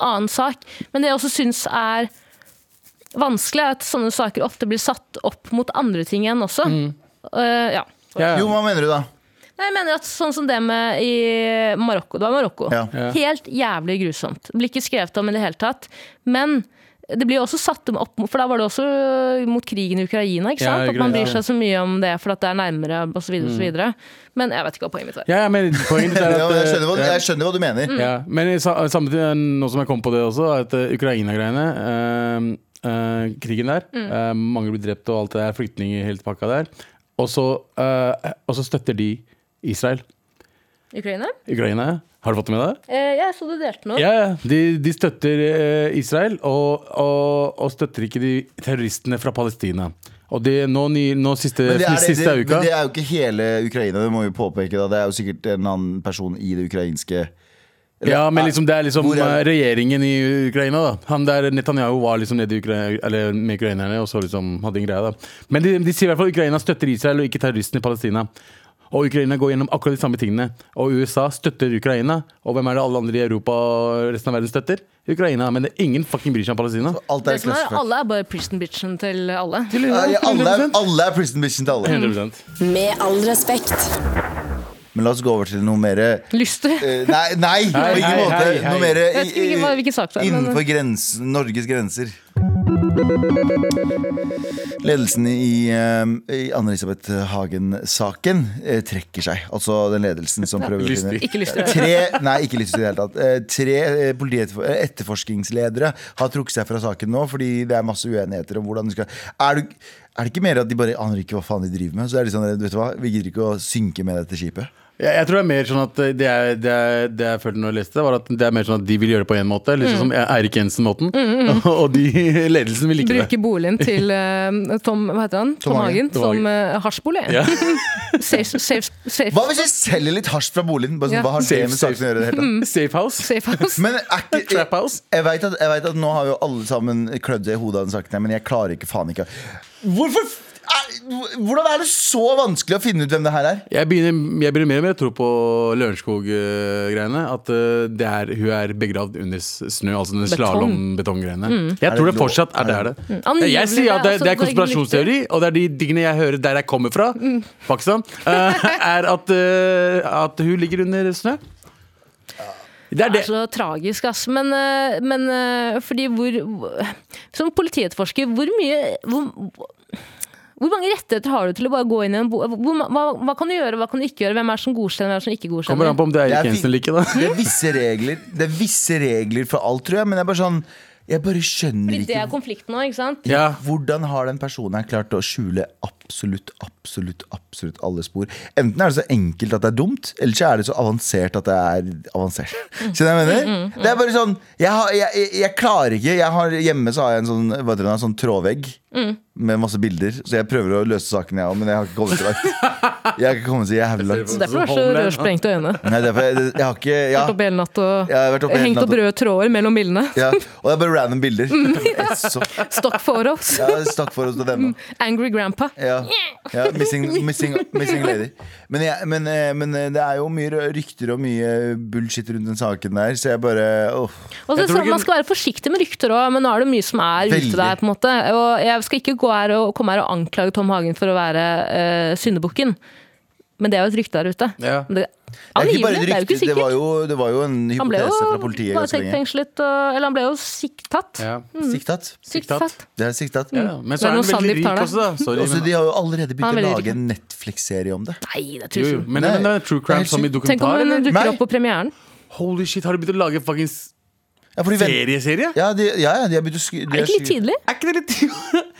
[SPEAKER 3] annen sak. Men det jeg også syns er vanskelig, er at sånne saker ofte blir satt opp mot andre ting igjen også.
[SPEAKER 4] Mm.
[SPEAKER 3] Eh, ja.
[SPEAKER 4] Ja.
[SPEAKER 2] Jo, hva mener du da?
[SPEAKER 3] Nei, jeg mener at sånn som det med i Marokko. Det var Marokko.
[SPEAKER 2] Ja.
[SPEAKER 4] Ja.
[SPEAKER 3] Helt jævlig grusomt. Det blir ikke skrevet om i det hele tatt. Men det blir jo også satt dem opp mot For da var det også mot krigen i Ukraina. ikke
[SPEAKER 4] Ja,
[SPEAKER 3] sant? at man
[SPEAKER 4] Ukraina, Mm.
[SPEAKER 3] bryr seg så mye om det for at det er nærmere osv. videre Men jeg vet ikke hva poenget mitt er.
[SPEAKER 4] Ja, ja, men poenget mitt er
[SPEAKER 2] Ja,
[SPEAKER 4] at
[SPEAKER 2] men jeg,
[SPEAKER 4] eh, Mm.
[SPEAKER 2] skjønner hva,
[SPEAKER 4] ja.
[SPEAKER 2] jeg skjønner hva du mener.
[SPEAKER 4] Ja, men i sa- samtidig, eh, nå som jeg kom på det også, er at eh, Ukraina-greiene eh, eh, Krigen der.
[SPEAKER 2] Mm.
[SPEAKER 4] eh, mange blir drept og alt det der. Flyktninger helt pakka der. Og så eh, og så støtter de Israel.
[SPEAKER 3] Ukraina?
[SPEAKER 4] Ukraina, har du fått det med deg?
[SPEAKER 3] Eh, jeg så du delte noe.
[SPEAKER 4] Ja, ja. De, de støtter eh, Israel, og, og, og støtter ikke de terroristene fra Palestina. Og det nå, ny, nå siste,
[SPEAKER 2] Men det, er, det,
[SPEAKER 4] Eh, siste
[SPEAKER 2] det,
[SPEAKER 4] uka
[SPEAKER 2] men det er jo ikke hele Ukraina, det må vi påpeke. da Det er jo sikkert en annen person i det ukrainske
[SPEAKER 4] Ja, men liksom, det er liksom
[SPEAKER 2] Hvor er-
[SPEAKER 4] eh, regjeringen i Ukraina, da. Han der Netanyahu var liksom nede i Ukra- eller med ukrainerne og så liksom hadde en greie, da. Men de, de sier i hvert fall at Ukraina støtter Israel og ikke terroristene i Palestina. Og Ukraina går gjennom akkurat de samme tingene. Og USA støtter Ukraina. Og hvem er det alle andre i Europa og resten av verden støtter? Ukraina. Men det er ingen fucking bryr seg om Palestina.
[SPEAKER 2] Alt
[SPEAKER 3] Det
[SPEAKER 2] er
[SPEAKER 3] som er, sånn
[SPEAKER 2] klassefakt.
[SPEAKER 3] alle er bare prison bitchen til alle.
[SPEAKER 2] Ja, ja, alle, er, alle er prison bitchen til alle.
[SPEAKER 4] 100
[SPEAKER 1] Med all respekt.
[SPEAKER 2] Men la oss gå over til noe mer eh,
[SPEAKER 3] Lyster.
[SPEAKER 2] Nei, nei på
[SPEAKER 4] Hei,
[SPEAKER 2] ingen
[SPEAKER 4] hei,
[SPEAKER 2] måte!
[SPEAKER 4] hei, hei.
[SPEAKER 2] Noe mer eh,
[SPEAKER 3] Jeg vet ikke hva- hvilken sak det er, men-
[SPEAKER 2] innenfor grensen, Norges grenser. Ledelsen i, eh, i Anne-Elisabeth Hagen-saken eh, trekker seg. Altså den ledelsen som prøver å
[SPEAKER 4] Lystig.
[SPEAKER 2] finne
[SPEAKER 3] Ikke lyst til å
[SPEAKER 2] Tre, nei, ikke lyst til det i det hele tatt. Eh, Tre eh, politietterfor- eh, etterforskningsledere har trukket seg fra saken nå fordi det er masse uenigheter om hvordan de skal Er, du, er det ikke mer at de bare aner ikke hva faen de driver med? Så er de sånn, vet du hva, vi gidder ikke å synke med dette skipet.
[SPEAKER 4] Jeg, jeg tror det er mer sånn at eh, det jeg, det jeg, det jeg følte når jeg leste, det, var at det er mer sånn at de vil gjøre det på én måte. Litt sånn som Eirik Jensen-måten. Og de, ledelsen vil ikke det.
[SPEAKER 3] bruke boligen til eh, Tom, hva heter han? Tom,
[SPEAKER 2] Tom Hagen.
[SPEAKER 3] Hagen,
[SPEAKER 4] Tom Hagen.
[SPEAKER 3] som uh, hasjbolig.
[SPEAKER 4] Ja.
[SPEAKER 3] safe, safe, safe,
[SPEAKER 2] Hva hvis vi selger litt hasj fra boligen? Bare sånn,
[SPEAKER 3] Ja.
[SPEAKER 2] Hva har det
[SPEAKER 4] Safe,
[SPEAKER 2] med
[SPEAKER 4] safe.
[SPEAKER 2] saken å gjøre? i Det hele tatt?
[SPEAKER 4] Safe house.
[SPEAKER 3] safe house.
[SPEAKER 2] Men er ikke
[SPEAKER 4] Trap house.
[SPEAKER 2] Jeg vet, at, jeg vet at nå har jo alle sammen klødd seg i hodet av den saken her, men jeg klarer ikke faen ikke Hvorfor f- er, Hvordan er det så vanskelig å finne ut hvem det her er?
[SPEAKER 4] Jeg begynner, jeg begynner mer og mer å tro på Lørenskog-greiene. At eh, det er, hun er begravd under s- snø, altså den
[SPEAKER 3] Betong.
[SPEAKER 4] slalåmbetong-greiene. Jeg tror det
[SPEAKER 2] lov?
[SPEAKER 4] fortsatt er der, det.
[SPEAKER 3] Angivelig,
[SPEAKER 4] Jeg sier at det,
[SPEAKER 3] altså,
[SPEAKER 4] det er
[SPEAKER 3] det er ikke
[SPEAKER 4] konspirasjonsteori, og det er de tingene jeg hører der jeg kommer fra,
[SPEAKER 3] Mm.
[SPEAKER 4] Pakistan, eh, er at, eh, at hun ligger under snø. Det er
[SPEAKER 3] Det
[SPEAKER 4] det.
[SPEAKER 3] er så tragisk, ass. Men, eh, men eh, fordi hvor Som politietterforsker, hvor mye hvor, hvor mange rettigheter har du til å bare gå inn i en bo... Hvor, ma- hva, hva kan du gjøre, hva kan du ikke gjøre? Hvem er det som godkjenner, hvem er det som ikke
[SPEAKER 4] Kommer
[SPEAKER 3] godkjenner?
[SPEAKER 4] an på om det er
[SPEAKER 2] Det er
[SPEAKER 4] Erik
[SPEAKER 2] fint.
[SPEAKER 4] Jensen eller ikke, da.
[SPEAKER 2] Det er visse regler Det er visse regler for alt, tror jeg, men jeg er bare sånn Jeg bare skjønner
[SPEAKER 3] Fordi det
[SPEAKER 2] ikke
[SPEAKER 3] er konflikten nå, ikke sant?
[SPEAKER 4] Ja.
[SPEAKER 2] hvordan har den personen her klart å skjule absolutt, absolutt, absolutt alle spor? Enten er det så enkelt at det er dumt, eller så er det så avansert at det er avansert. Skjønner du hva jeg mener? Det er bare sånn, jeg, har, jeg, jeg, jeg klarer ikke, jeg har, hjemme så har jeg en sånn, hva heter det, en sånn trådvegg med masse bilder, så jeg prøver å løse saken jeg har, men jeg har ikke kommet så langt. Jeg har ikke kommet så jævlig langt.
[SPEAKER 3] Så derfor er det så
[SPEAKER 4] Homeland.
[SPEAKER 3] rødsprengte øyne.
[SPEAKER 2] Nei, derfor, jeg, jeg har ikke, ja.
[SPEAKER 3] Vært oppe hele natt og
[SPEAKER 2] Jeg har vært oppe hele
[SPEAKER 3] hengt
[SPEAKER 2] natt
[SPEAKER 3] opp
[SPEAKER 2] og-
[SPEAKER 3] røde tråder mellom bildene.
[SPEAKER 2] Ja, og det er bare random bilder. Så,
[SPEAKER 3] Stokk for oss.
[SPEAKER 2] ja, stakk for oss til denne.
[SPEAKER 3] Angry grandpa.
[SPEAKER 2] Ja, ja missing, missing, missing lady. Men, jeg, men, eh, men eh, det er jo mye rø- rykter og mye bullshit rundt den saken der, så jeg bare åh.
[SPEAKER 3] Og så,
[SPEAKER 4] Jeg tror
[SPEAKER 3] så,
[SPEAKER 4] ikke-
[SPEAKER 3] man skal være forsiktig med rykter òg, men nå er det mye som er
[SPEAKER 2] Veldig.
[SPEAKER 3] ute der. på en måte Og Jeg skal ikke gå her og komme her og anklage Tom Hagen for å være uh, syndebukken, men det er jo et rykte der ute.
[SPEAKER 4] Ja.
[SPEAKER 3] Men Det,
[SPEAKER 2] Det er ikke bare
[SPEAKER 3] angivelig,
[SPEAKER 2] et
[SPEAKER 3] det er jo
[SPEAKER 2] rykte,
[SPEAKER 3] ikke
[SPEAKER 2] det var
[SPEAKER 3] sikkert.
[SPEAKER 2] jo, det var jo en
[SPEAKER 3] Han ble
[SPEAKER 2] hypotese fra politiet
[SPEAKER 3] jo
[SPEAKER 2] ganske lenge.
[SPEAKER 3] varetektsfengslet, og- eller han ble jo siktatt.
[SPEAKER 4] Ja.
[SPEAKER 2] Siktat.
[SPEAKER 3] Siktatt.
[SPEAKER 2] Det er siktat.
[SPEAKER 4] Ja, men
[SPEAKER 3] Det
[SPEAKER 4] så er
[SPEAKER 3] er noe
[SPEAKER 4] han veldig
[SPEAKER 3] Sandeep
[SPEAKER 4] rik
[SPEAKER 3] tar det.
[SPEAKER 4] også, da. Sorry,
[SPEAKER 2] Også,
[SPEAKER 4] men,
[SPEAKER 2] de har jo allerede begynt
[SPEAKER 3] Mm. Han er
[SPEAKER 2] å
[SPEAKER 3] veldig
[SPEAKER 2] lage en Netflix-serie om det.
[SPEAKER 3] Nei, det er
[SPEAKER 4] jo, jo.
[SPEAKER 3] tusen.
[SPEAKER 4] men, men det er true crime
[SPEAKER 2] Nei.
[SPEAKER 4] som i
[SPEAKER 3] Tenk om
[SPEAKER 4] dokumentar,
[SPEAKER 3] han
[SPEAKER 4] eller?
[SPEAKER 3] dukker
[SPEAKER 2] Nei.
[SPEAKER 3] opp på premieren.
[SPEAKER 4] Holy shit, har de begynt å lage fuckings
[SPEAKER 2] Ja, fordi ven-
[SPEAKER 4] serieserie?
[SPEAKER 2] ja, de, ja, ja, de har begynt å skri- de
[SPEAKER 3] Er det
[SPEAKER 2] har
[SPEAKER 3] ikke litt
[SPEAKER 2] skri-
[SPEAKER 3] tidlig?
[SPEAKER 4] Er ikke det litt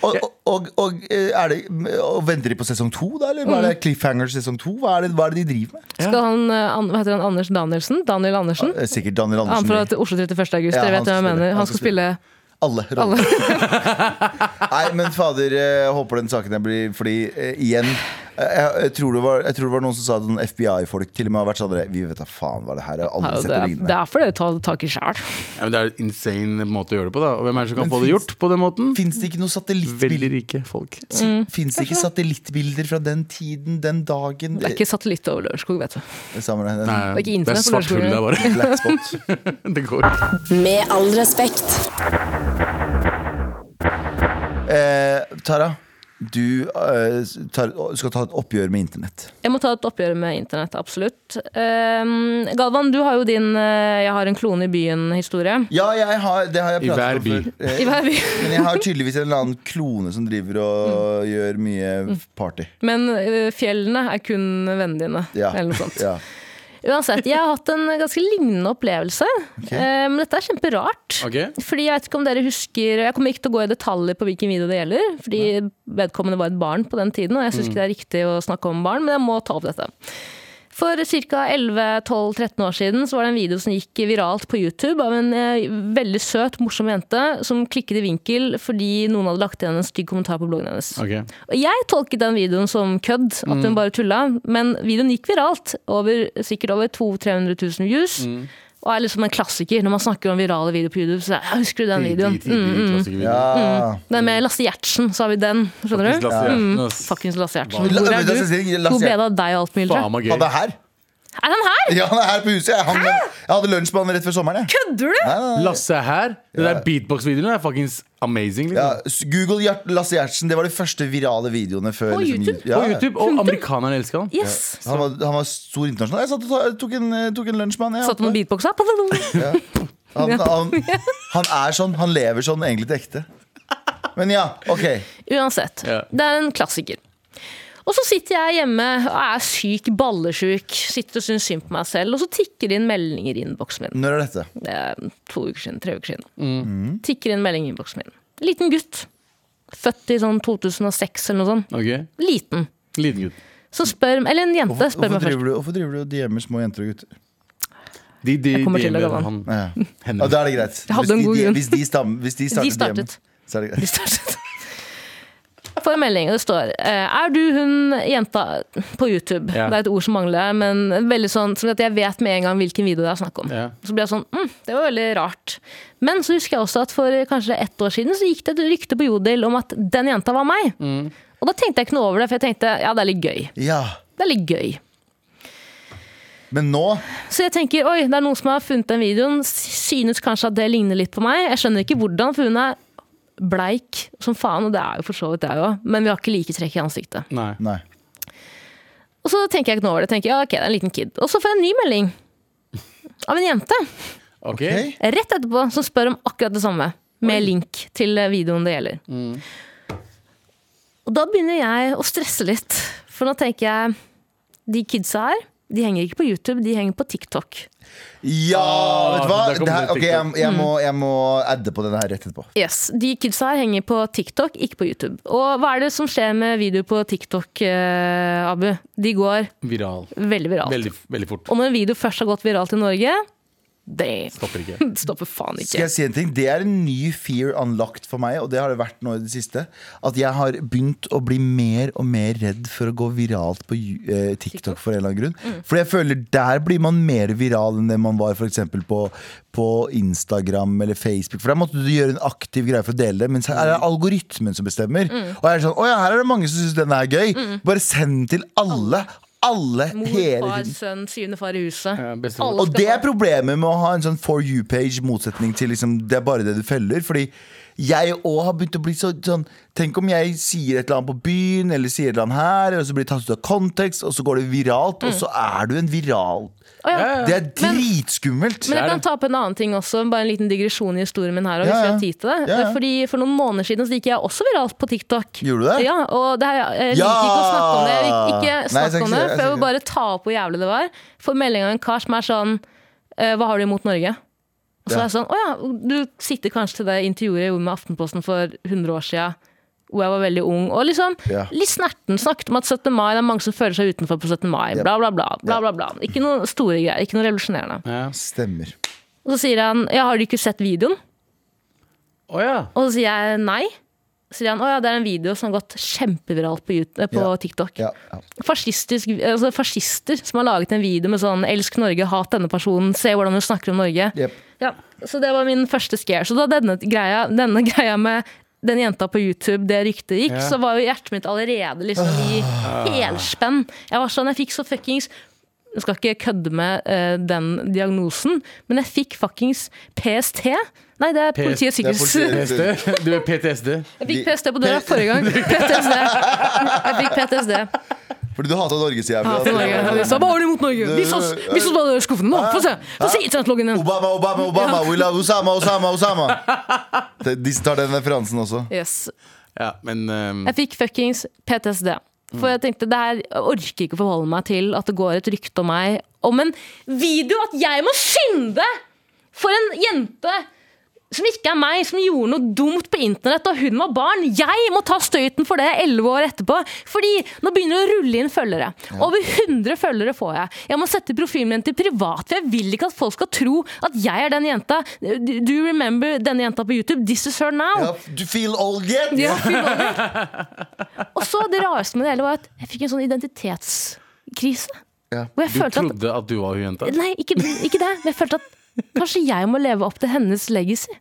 [SPEAKER 2] Og, og, og, og, eh, er det, og venter de på sesong to, da? Eller hva er det
[SPEAKER 3] Mm.
[SPEAKER 2] cliffhanger sesong to? Hva er det, hva er det de driver med?
[SPEAKER 4] Ja.
[SPEAKER 3] Skal han, eh, an- hva heter han, Anders Danielsen? Daniel Andersen?
[SPEAKER 2] Eh, Sikkert Daniel
[SPEAKER 3] Han fra
[SPEAKER 2] Andersen.
[SPEAKER 3] Oslo 31. august,
[SPEAKER 2] Ja,
[SPEAKER 3] dere
[SPEAKER 2] han skal
[SPEAKER 3] vet hva jeg
[SPEAKER 2] spille.
[SPEAKER 3] mener.
[SPEAKER 2] Han
[SPEAKER 3] Han
[SPEAKER 2] skal
[SPEAKER 3] skal spille
[SPEAKER 2] Alle roller.
[SPEAKER 3] alle.
[SPEAKER 2] Nei, men fader, eh, jeg håper den saken her blir Fordi eh, igjen eh, jeg, jeg, tror det var, jeg tror det var noen som sa at sånn FBI-folk til og med har vært sånn der, Vi vet da faen hva det her er. Jeg har
[SPEAKER 3] Ja,
[SPEAKER 2] Aldri sett
[SPEAKER 3] det
[SPEAKER 2] det
[SPEAKER 3] er- Det
[SPEAKER 2] lignende.
[SPEAKER 3] er fordi dere tar tak i sjæl.
[SPEAKER 4] Ja, men det er en insane måte å gjøre det på, da. Og hvem er det som kan få det gjort på den måten?
[SPEAKER 2] Fins det ikke noen satellittbilder
[SPEAKER 4] Veldig rike folk.
[SPEAKER 2] Finnes det ikke satellittbilder fra den tiden, den dagen
[SPEAKER 3] Det er ikke satellitt over Lørenskog, vet du.
[SPEAKER 2] Det samme, det,
[SPEAKER 4] Nei,
[SPEAKER 2] en
[SPEAKER 3] Og ikke
[SPEAKER 4] det er
[SPEAKER 3] internett,
[SPEAKER 4] svart hull der, bare.
[SPEAKER 2] black spot.
[SPEAKER 4] Det går ikke.
[SPEAKER 1] Med all respekt.
[SPEAKER 2] Eh, Tara, du eh, tar, skal ta et oppgjør med internett.
[SPEAKER 3] Jeg må ta et oppgjør med internett, absolutt. Ehm, Galvan, du har jo din eh, 'jeg har en klone i byen'-historie.
[SPEAKER 2] Ja, jeg har, det har jeg
[SPEAKER 4] I hver
[SPEAKER 2] pratet om
[SPEAKER 4] by.
[SPEAKER 2] før. Eh,
[SPEAKER 3] I hver by.
[SPEAKER 2] Men jeg har tydeligvis en eller annen klone som driver
[SPEAKER 3] Mm.
[SPEAKER 2] og gjør mye party.
[SPEAKER 3] Men eh, fjellene er kun vennene dine,
[SPEAKER 2] Ja.
[SPEAKER 3] eller noe sånt.
[SPEAKER 2] Ja.
[SPEAKER 3] Uansett, jeg har hatt en ganske lignende opplevelse. Eh, Men dette er kjemperart.
[SPEAKER 4] Ok.
[SPEAKER 3] Fordi jeg vet ikke om dere husker Jeg kommer ikke til å gå i detaljer på hvilken video det gjelder, fordi vedkommende var et barn på den tiden, og jeg syns ikke det er riktig å snakke om barn, men jeg må ta opp dette. For ca. 11-12-13 år siden så var det en video som gikk viralt på YouTube av en eh, veldig søt, morsom jente som klikket i vinkel fordi noen hadde lagt igjen en stygg kommentar på bloggen hennes.
[SPEAKER 4] Ok.
[SPEAKER 3] Og jeg tolket den videoen som kødd, at
[SPEAKER 2] Mm.
[SPEAKER 3] hun bare tulla. Men videoen gikk viralt. Over, sikkert over 200 000-300 000 views.
[SPEAKER 2] Mm.
[SPEAKER 3] Og er liksom en klassiker. Når man snakker om virale videoer på YouTube, så er, jeg, husker du den videoen? Mm.
[SPEAKER 4] Tidlig, tidlig klassikervideo.
[SPEAKER 2] Ja.
[SPEAKER 3] Den med Lasse Gjertsen, så har vi den. Skjønner
[SPEAKER 4] Faktisk
[SPEAKER 3] du?
[SPEAKER 4] Lasse Gjertsen, ass.
[SPEAKER 3] Fuckings Lasse Gjertsen.
[SPEAKER 2] Hva?
[SPEAKER 3] Hvor
[SPEAKER 2] La-
[SPEAKER 3] er du?
[SPEAKER 2] Lasse Gjertsen- Lasse
[SPEAKER 3] Hvor ble det av deg og alt mulig?
[SPEAKER 4] Faen meg gøy.
[SPEAKER 2] Han er her!
[SPEAKER 3] Er han her?
[SPEAKER 2] Ja, han er her på huset. Jeg, han, jeg hadde lunsj med han rett før sommeren. Jeg.
[SPEAKER 3] Kødder du?
[SPEAKER 2] Nei, nei, nei.
[SPEAKER 4] Lasse er her. Den der beatbox-videoen er fuckings amazing.
[SPEAKER 2] Ja,
[SPEAKER 4] Liksom.
[SPEAKER 2] s- Google Gjert, Lasse Gjertsen. Det var de første virale videoene før.
[SPEAKER 3] På YouTube?
[SPEAKER 2] Ju- Ja,
[SPEAKER 4] På
[SPEAKER 2] ja.
[SPEAKER 4] YouTube, og amerikanerne elsker han.
[SPEAKER 3] Yes.
[SPEAKER 2] Han var, han var stor internasjonal. Jeg satt og ta, tok, en, eh, tok en lunsj med han. Jeg.
[SPEAKER 3] Satt han og beatboxa?
[SPEAKER 2] han, han, han er sånn. Han lever sånn egentlig til ekte. Men ja, ok.
[SPEAKER 3] Uansett.
[SPEAKER 4] Ja.
[SPEAKER 3] Det er en klassiker. Og så sitter jeg hjemme og er syk, ballesjuk, sitter og syns synd på meg selv, og så tikker det inn meldinger i innboksen min.
[SPEAKER 2] Når er dette?
[SPEAKER 3] Det er to uker siden, tre uker siden.
[SPEAKER 2] Mm.
[SPEAKER 3] Tikker inn melding i innboksen min. Liten gutt. Født i sånn 2006 eller noe sånt.
[SPEAKER 4] Ok,
[SPEAKER 3] Liten.
[SPEAKER 4] Liten gutt.
[SPEAKER 3] Så spør, eller en jente
[SPEAKER 2] Hvorfor,
[SPEAKER 3] spør
[SPEAKER 2] hvorfor,
[SPEAKER 3] meg først.
[SPEAKER 2] driver du, hvorfor driver du og DM'er små jenter og gutter?
[SPEAKER 4] De, de,
[SPEAKER 3] Jeg kommer
[SPEAKER 4] de
[SPEAKER 3] til det,
[SPEAKER 4] gjør
[SPEAKER 3] Galvan.
[SPEAKER 4] han-
[SPEAKER 2] Ja.
[SPEAKER 4] henne.
[SPEAKER 2] Ja, da er det greit.
[SPEAKER 3] Jeg hadde
[SPEAKER 2] Hvis de-
[SPEAKER 3] en god
[SPEAKER 2] de-
[SPEAKER 3] grunn.
[SPEAKER 2] Hvis de, stam, hvis de startet,
[SPEAKER 3] startet.
[SPEAKER 2] DM, så er det greit.
[SPEAKER 3] De startet. Får en melding, og det står eh, Er du hun jenta på YouTube?
[SPEAKER 4] Ja.
[SPEAKER 3] Det er et ord som mangler, men veldig sånn sånn at jeg vet med en gang hvilken video det er snakk om.
[SPEAKER 4] Ja.
[SPEAKER 3] Så ble jeg sånn mm, Det var veldig rart. Men så husker jeg også at for kanskje ett år siden så gikk det et rykte på Jodel om at den jenta var meg.
[SPEAKER 2] Mm.
[SPEAKER 3] Og da tenkte jeg ikke noe over det, for jeg tenkte ja, det er litt gøy.
[SPEAKER 2] Ja.
[SPEAKER 3] Det er litt gøy.
[SPEAKER 2] Men nå
[SPEAKER 3] Så jeg tenker oi, det er noen som har funnet den videoen. Synes kanskje at det ligner litt på meg. Jeg skjønner ikke hvordan, for hun er bleik som faen, og det er jo for så vidt jeg òg, men vi har ikke like trekk i ansiktet.
[SPEAKER 4] Nei.
[SPEAKER 2] Nei.
[SPEAKER 3] Og så tenker jeg ikke noe over det. tenker ja, ok, det er en liten kid. Og så får jeg en ny melding av en jente
[SPEAKER 4] Ok.
[SPEAKER 2] Ok.
[SPEAKER 3] rett etterpå som spør om akkurat det samme, med link til videoen det gjelder. Og da begynner jeg å stresse litt, for nå tenker jeg de kidsa her, de henger ikke på YouTube, de henger på TikTok.
[SPEAKER 2] Ja, vet du hva?
[SPEAKER 4] der kom
[SPEAKER 2] Det her,
[SPEAKER 4] det
[SPEAKER 2] ok, jeg, jeg, må, jeg må adde på denne her rett etterpå.
[SPEAKER 3] Yes, De kidsa her henger på TikTok, ikke på YouTube. Og hva er det som skjer med videoer på TikTok, eh, Abu? De går
[SPEAKER 4] Viral.
[SPEAKER 3] veldig viralt.
[SPEAKER 4] Veldig, veldig fort.
[SPEAKER 3] Og når en video først har gått viralt i Norge, det
[SPEAKER 4] Stopper ikke.
[SPEAKER 3] stopper faen
[SPEAKER 2] Skal
[SPEAKER 3] ikke.
[SPEAKER 2] jeg si en ting? Det er en ny fear unlocked for meg, og det har det vært nå i det siste. At jeg har begynt å bli mer og mer redd for å gå viralt på ju- eh, TikTok for en eller annen grunn. Fordi jeg føler der blir man mer viral enn det man var for eksempel på, på Instagram eller Facebook. For der måtte du gjøre en aktiv greie for å dele det, mens her er det algoritmen som bestemmer. Og jeg er sånn, åja, her er det mange som syns denne er gøy. Bare send den til alle. Alle
[SPEAKER 3] Mor,
[SPEAKER 2] hele
[SPEAKER 3] far,
[SPEAKER 2] tiden.
[SPEAKER 3] sønn, syvende far i huset.
[SPEAKER 4] Ja,
[SPEAKER 3] Alle
[SPEAKER 4] bestemor.
[SPEAKER 3] skal
[SPEAKER 2] Og det er
[SPEAKER 3] få-
[SPEAKER 2] problemet med å ha en sånn for you-page motsetning til liksom, det er bare det du følger. Fordi jeg òg har begynt å bli så, sånn Tenk om jeg sier et eller annet på byen, eller sier et eller annet her, og så blir det tatt ut av kontekst, og så går det viralt, og så er du en viral.
[SPEAKER 3] Mm. Å, ja.
[SPEAKER 4] Ja, ja.
[SPEAKER 2] Det er dritskummelt.
[SPEAKER 3] Men
[SPEAKER 4] Det
[SPEAKER 3] jeg
[SPEAKER 4] er
[SPEAKER 3] kan
[SPEAKER 4] det.
[SPEAKER 3] ta opp en annen ting også, bare en liten digresjon i historien min her. Og hvis
[SPEAKER 2] Ja, ja.
[SPEAKER 3] vi har tid til det.
[SPEAKER 2] Ja, ja.
[SPEAKER 3] Fordi For noen måneder siden så gikk jeg også viralt på TikTok.
[SPEAKER 2] Gjorde du det?
[SPEAKER 3] Ja, og det her, jeg liker
[SPEAKER 2] Ja!
[SPEAKER 3] ikke å snakke om det. Jeg vil
[SPEAKER 2] Nei, jeg
[SPEAKER 3] ikke
[SPEAKER 2] skal
[SPEAKER 3] snakke
[SPEAKER 2] ikke
[SPEAKER 3] om
[SPEAKER 2] si
[SPEAKER 3] det,
[SPEAKER 2] det, jeg
[SPEAKER 3] for jeg
[SPEAKER 2] skal
[SPEAKER 3] vil bare ta opp hvor jævlig det var. Får melding av en kar som er sånn eh, Hva har du imot Norge? Og så
[SPEAKER 2] Ja.
[SPEAKER 3] er jeg sånn Å ja, du sikter kanskje til det intervjuet jeg gjorde med Aftenposten for 100 år sia. Hvor jeg var veldig ung. Og liksom
[SPEAKER 2] Ja.
[SPEAKER 3] litt snerten. Snakket om at 17. mai, det er mange som føler seg utenfor på 17. mai. Bla, bla, bla. bla, bla, bla. Ikke noe store greier. Ikke noe revolusjonerende.
[SPEAKER 4] Ja.
[SPEAKER 2] Stemmer.
[SPEAKER 3] Og så sier han ja, 'Har du ikke sett videoen?'
[SPEAKER 4] Å ja.
[SPEAKER 3] Og så sier jeg nei. Så sier han 'Å ja, det er en video som har gått kjempeviralt på, YouTube, på
[SPEAKER 2] Ja.
[SPEAKER 3] TikTok'.
[SPEAKER 2] Ja, ja.
[SPEAKER 3] Fascistisk, altså fascister som har laget en video med sånn 'Elsk Norge, hat denne personen', 'Se hvordan hun snakker om Norge'.
[SPEAKER 2] Jep.
[SPEAKER 3] Ja, Så det var min første scare. Så da denne greia, denne greia med den jenta på YouTube, det ryktet gikk,
[SPEAKER 4] Ja.
[SPEAKER 3] så var jo hjertet mitt allerede liksom i helspenn. Jeg var sånn, jeg fikk så fuckings Jeg skal ikke kødde med eh, den diagnosen, men jeg fikk fuckings PST. Nei, det er Politiets
[SPEAKER 2] det er
[SPEAKER 3] sikkerhets...
[SPEAKER 2] politiet.
[SPEAKER 4] PTSD. Du er PTSD.
[SPEAKER 3] Jeg fikk PST på døra forrige gang. PTSD. Jeg fikk PTSD.
[SPEAKER 2] Fordi du hata Norge, sier jeg.
[SPEAKER 3] Ja, for Norge.
[SPEAKER 2] Fordi-
[SPEAKER 3] De sa, Hva har du imot Norge? Vis oss, vis oss hva du har i skuffen. Nå, få se! Få se internettloggen din!
[SPEAKER 2] Obama, Obama, Obama! We love Osama, Osama, Osama! De de tar den referansen også.
[SPEAKER 3] Yes.
[SPEAKER 4] Ja, men ehm,
[SPEAKER 3] Jeg fikk fuckings PTSD. For jeg tenkte, det her jeg orker ikke å forholde meg til at det går et rykte om meg om en video at jeg må skynde for en jente som ikke er meg, som gjorde noe dumt på internett da hun var barn. Jeg må ta støyten for det elleve år etterpå. Fordi nå begynner det å rulle inn følgere. Over 100 følgere får jeg. Jeg må sette profilen min til privat, for jeg vil ikke at folk skal tro at jeg er den jenta. Do you remember denne jenta på YouTube? This is her now.
[SPEAKER 2] Ja, du feel old yet?
[SPEAKER 3] Ja, fy fader. Og så det rareste med det hele var at jeg fikk en sånn identitetskrise.
[SPEAKER 2] Ja.
[SPEAKER 3] Hvor jeg
[SPEAKER 4] du
[SPEAKER 3] følte at
[SPEAKER 4] trodde at du var hun jenta?
[SPEAKER 3] Nei, ikke, ikke det. Men jeg følte at kanskje jeg må leve opp til hennes legacy.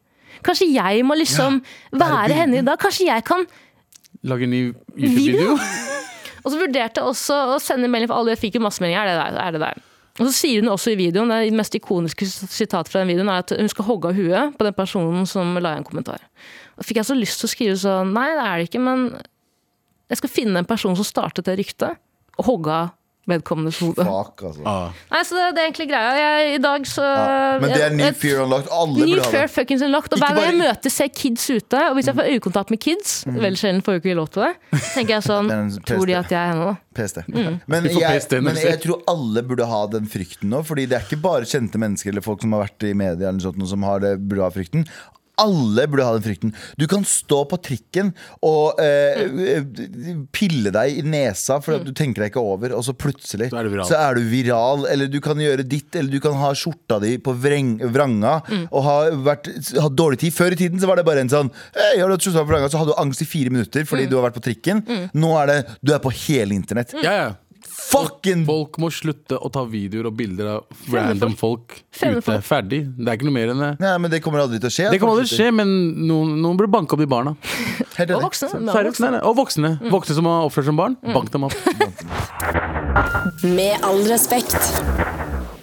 [SPEAKER 3] Kanskje jeg må liksom være henne i dag. Kanskje jeg kan
[SPEAKER 4] Lage en ny
[SPEAKER 3] video.
[SPEAKER 4] YouTube-video?
[SPEAKER 3] Og så vurderte jeg også å sende melding for alle. Jeg fikk jo masse meldinger. Er det der? Er det der? Og så sier hun også i videoen, det mest ikoniske sitatet fra den videoen er at hun skal hogge av huet på den personen som la igjen kommentar. Og fikk jeg så lyst til å skrive sånn Nei, det er det ikke, men jeg skal finne en person som startet det ryktet, og hogge av vedkommendes hode.
[SPEAKER 2] Fuck, altså.
[SPEAKER 3] Nei, så det, det er egentlig greia. Jeg, I dag så
[SPEAKER 2] Men det er New
[SPEAKER 3] jeg-
[SPEAKER 2] Fear Unlocked. Alle
[SPEAKER 3] New
[SPEAKER 2] burde ha
[SPEAKER 3] Fear
[SPEAKER 2] det.
[SPEAKER 3] fuckings unlocked. Og
[SPEAKER 2] Ikke
[SPEAKER 3] hver gang jeg
[SPEAKER 2] bare- Mm.
[SPEAKER 3] møter ser kids ute, og hvis jeg får øyekontakt med kids, vel sjelden får jeg ikke lov til det, så tenker jeg sånn
[SPEAKER 2] Det er en
[SPEAKER 3] Tror de
[SPEAKER 2] test.
[SPEAKER 3] at jeg er henne, da?
[SPEAKER 2] PST. Men,
[SPEAKER 4] Vi får
[SPEAKER 2] jeg,
[SPEAKER 4] PST når
[SPEAKER 2] men
[SPEAKER 4] vi ser.
[SPEAKER 2] jeg tror alle burde ha den frykten nå. Fordi det er ikke bare kjente mennesker eller folk som har vært i media eller sånt, noe som har det, burde ha frykten. Alle burde ha den frykten. Du kan stå på trikken og eh, pille deg i nesa fordi at du tenker deg ikke over, og så plutselig
[SPEAKER 4] Så er du viral.
[SPEAKER 2] så er du viral. Eller du kan gjøre ditt, eller du kan ha skjorta di på vreng, vranga og ha, vært, ha dårlig tid. Før i tiden så var det bare en sånn Hei, har du hatt skjorta på vranga? Så hadde du angst i fire minutter fordi du har vært på trikken. Nå er det Du er på hele internett.
[SPEAKER 4] Ja, ja.
[SPEAKER 2] Fucking
[SPEAKER 4] Folk må slutte å ta videoer og bilder av random folk
[SPEAKER 3] Fremmedfolk.
[SPEAKER 4] ute. Ferdig. Det er ikke noe mer enn det.
[SPEAKER 2] Nei, men det kommer aldri til å skje.
[SPEAKER 4] Det kan aldri skje, men noen, noen burde banke opp de barna.
[SPEAKER 2] Helt
[SPEAKER 3] Og
[SPEAKER 2] enig.
[SPEAKER 3] voksne. men
[SPEAKER 4] Seriøst,
[SPEAKER 3] voksne. Mm.
[SPEAKER 4] nei, nei. Og voksne. Voksne som har oppført seg som barn. Bank dem opp.
[SPEAKER 1] Med all respekt.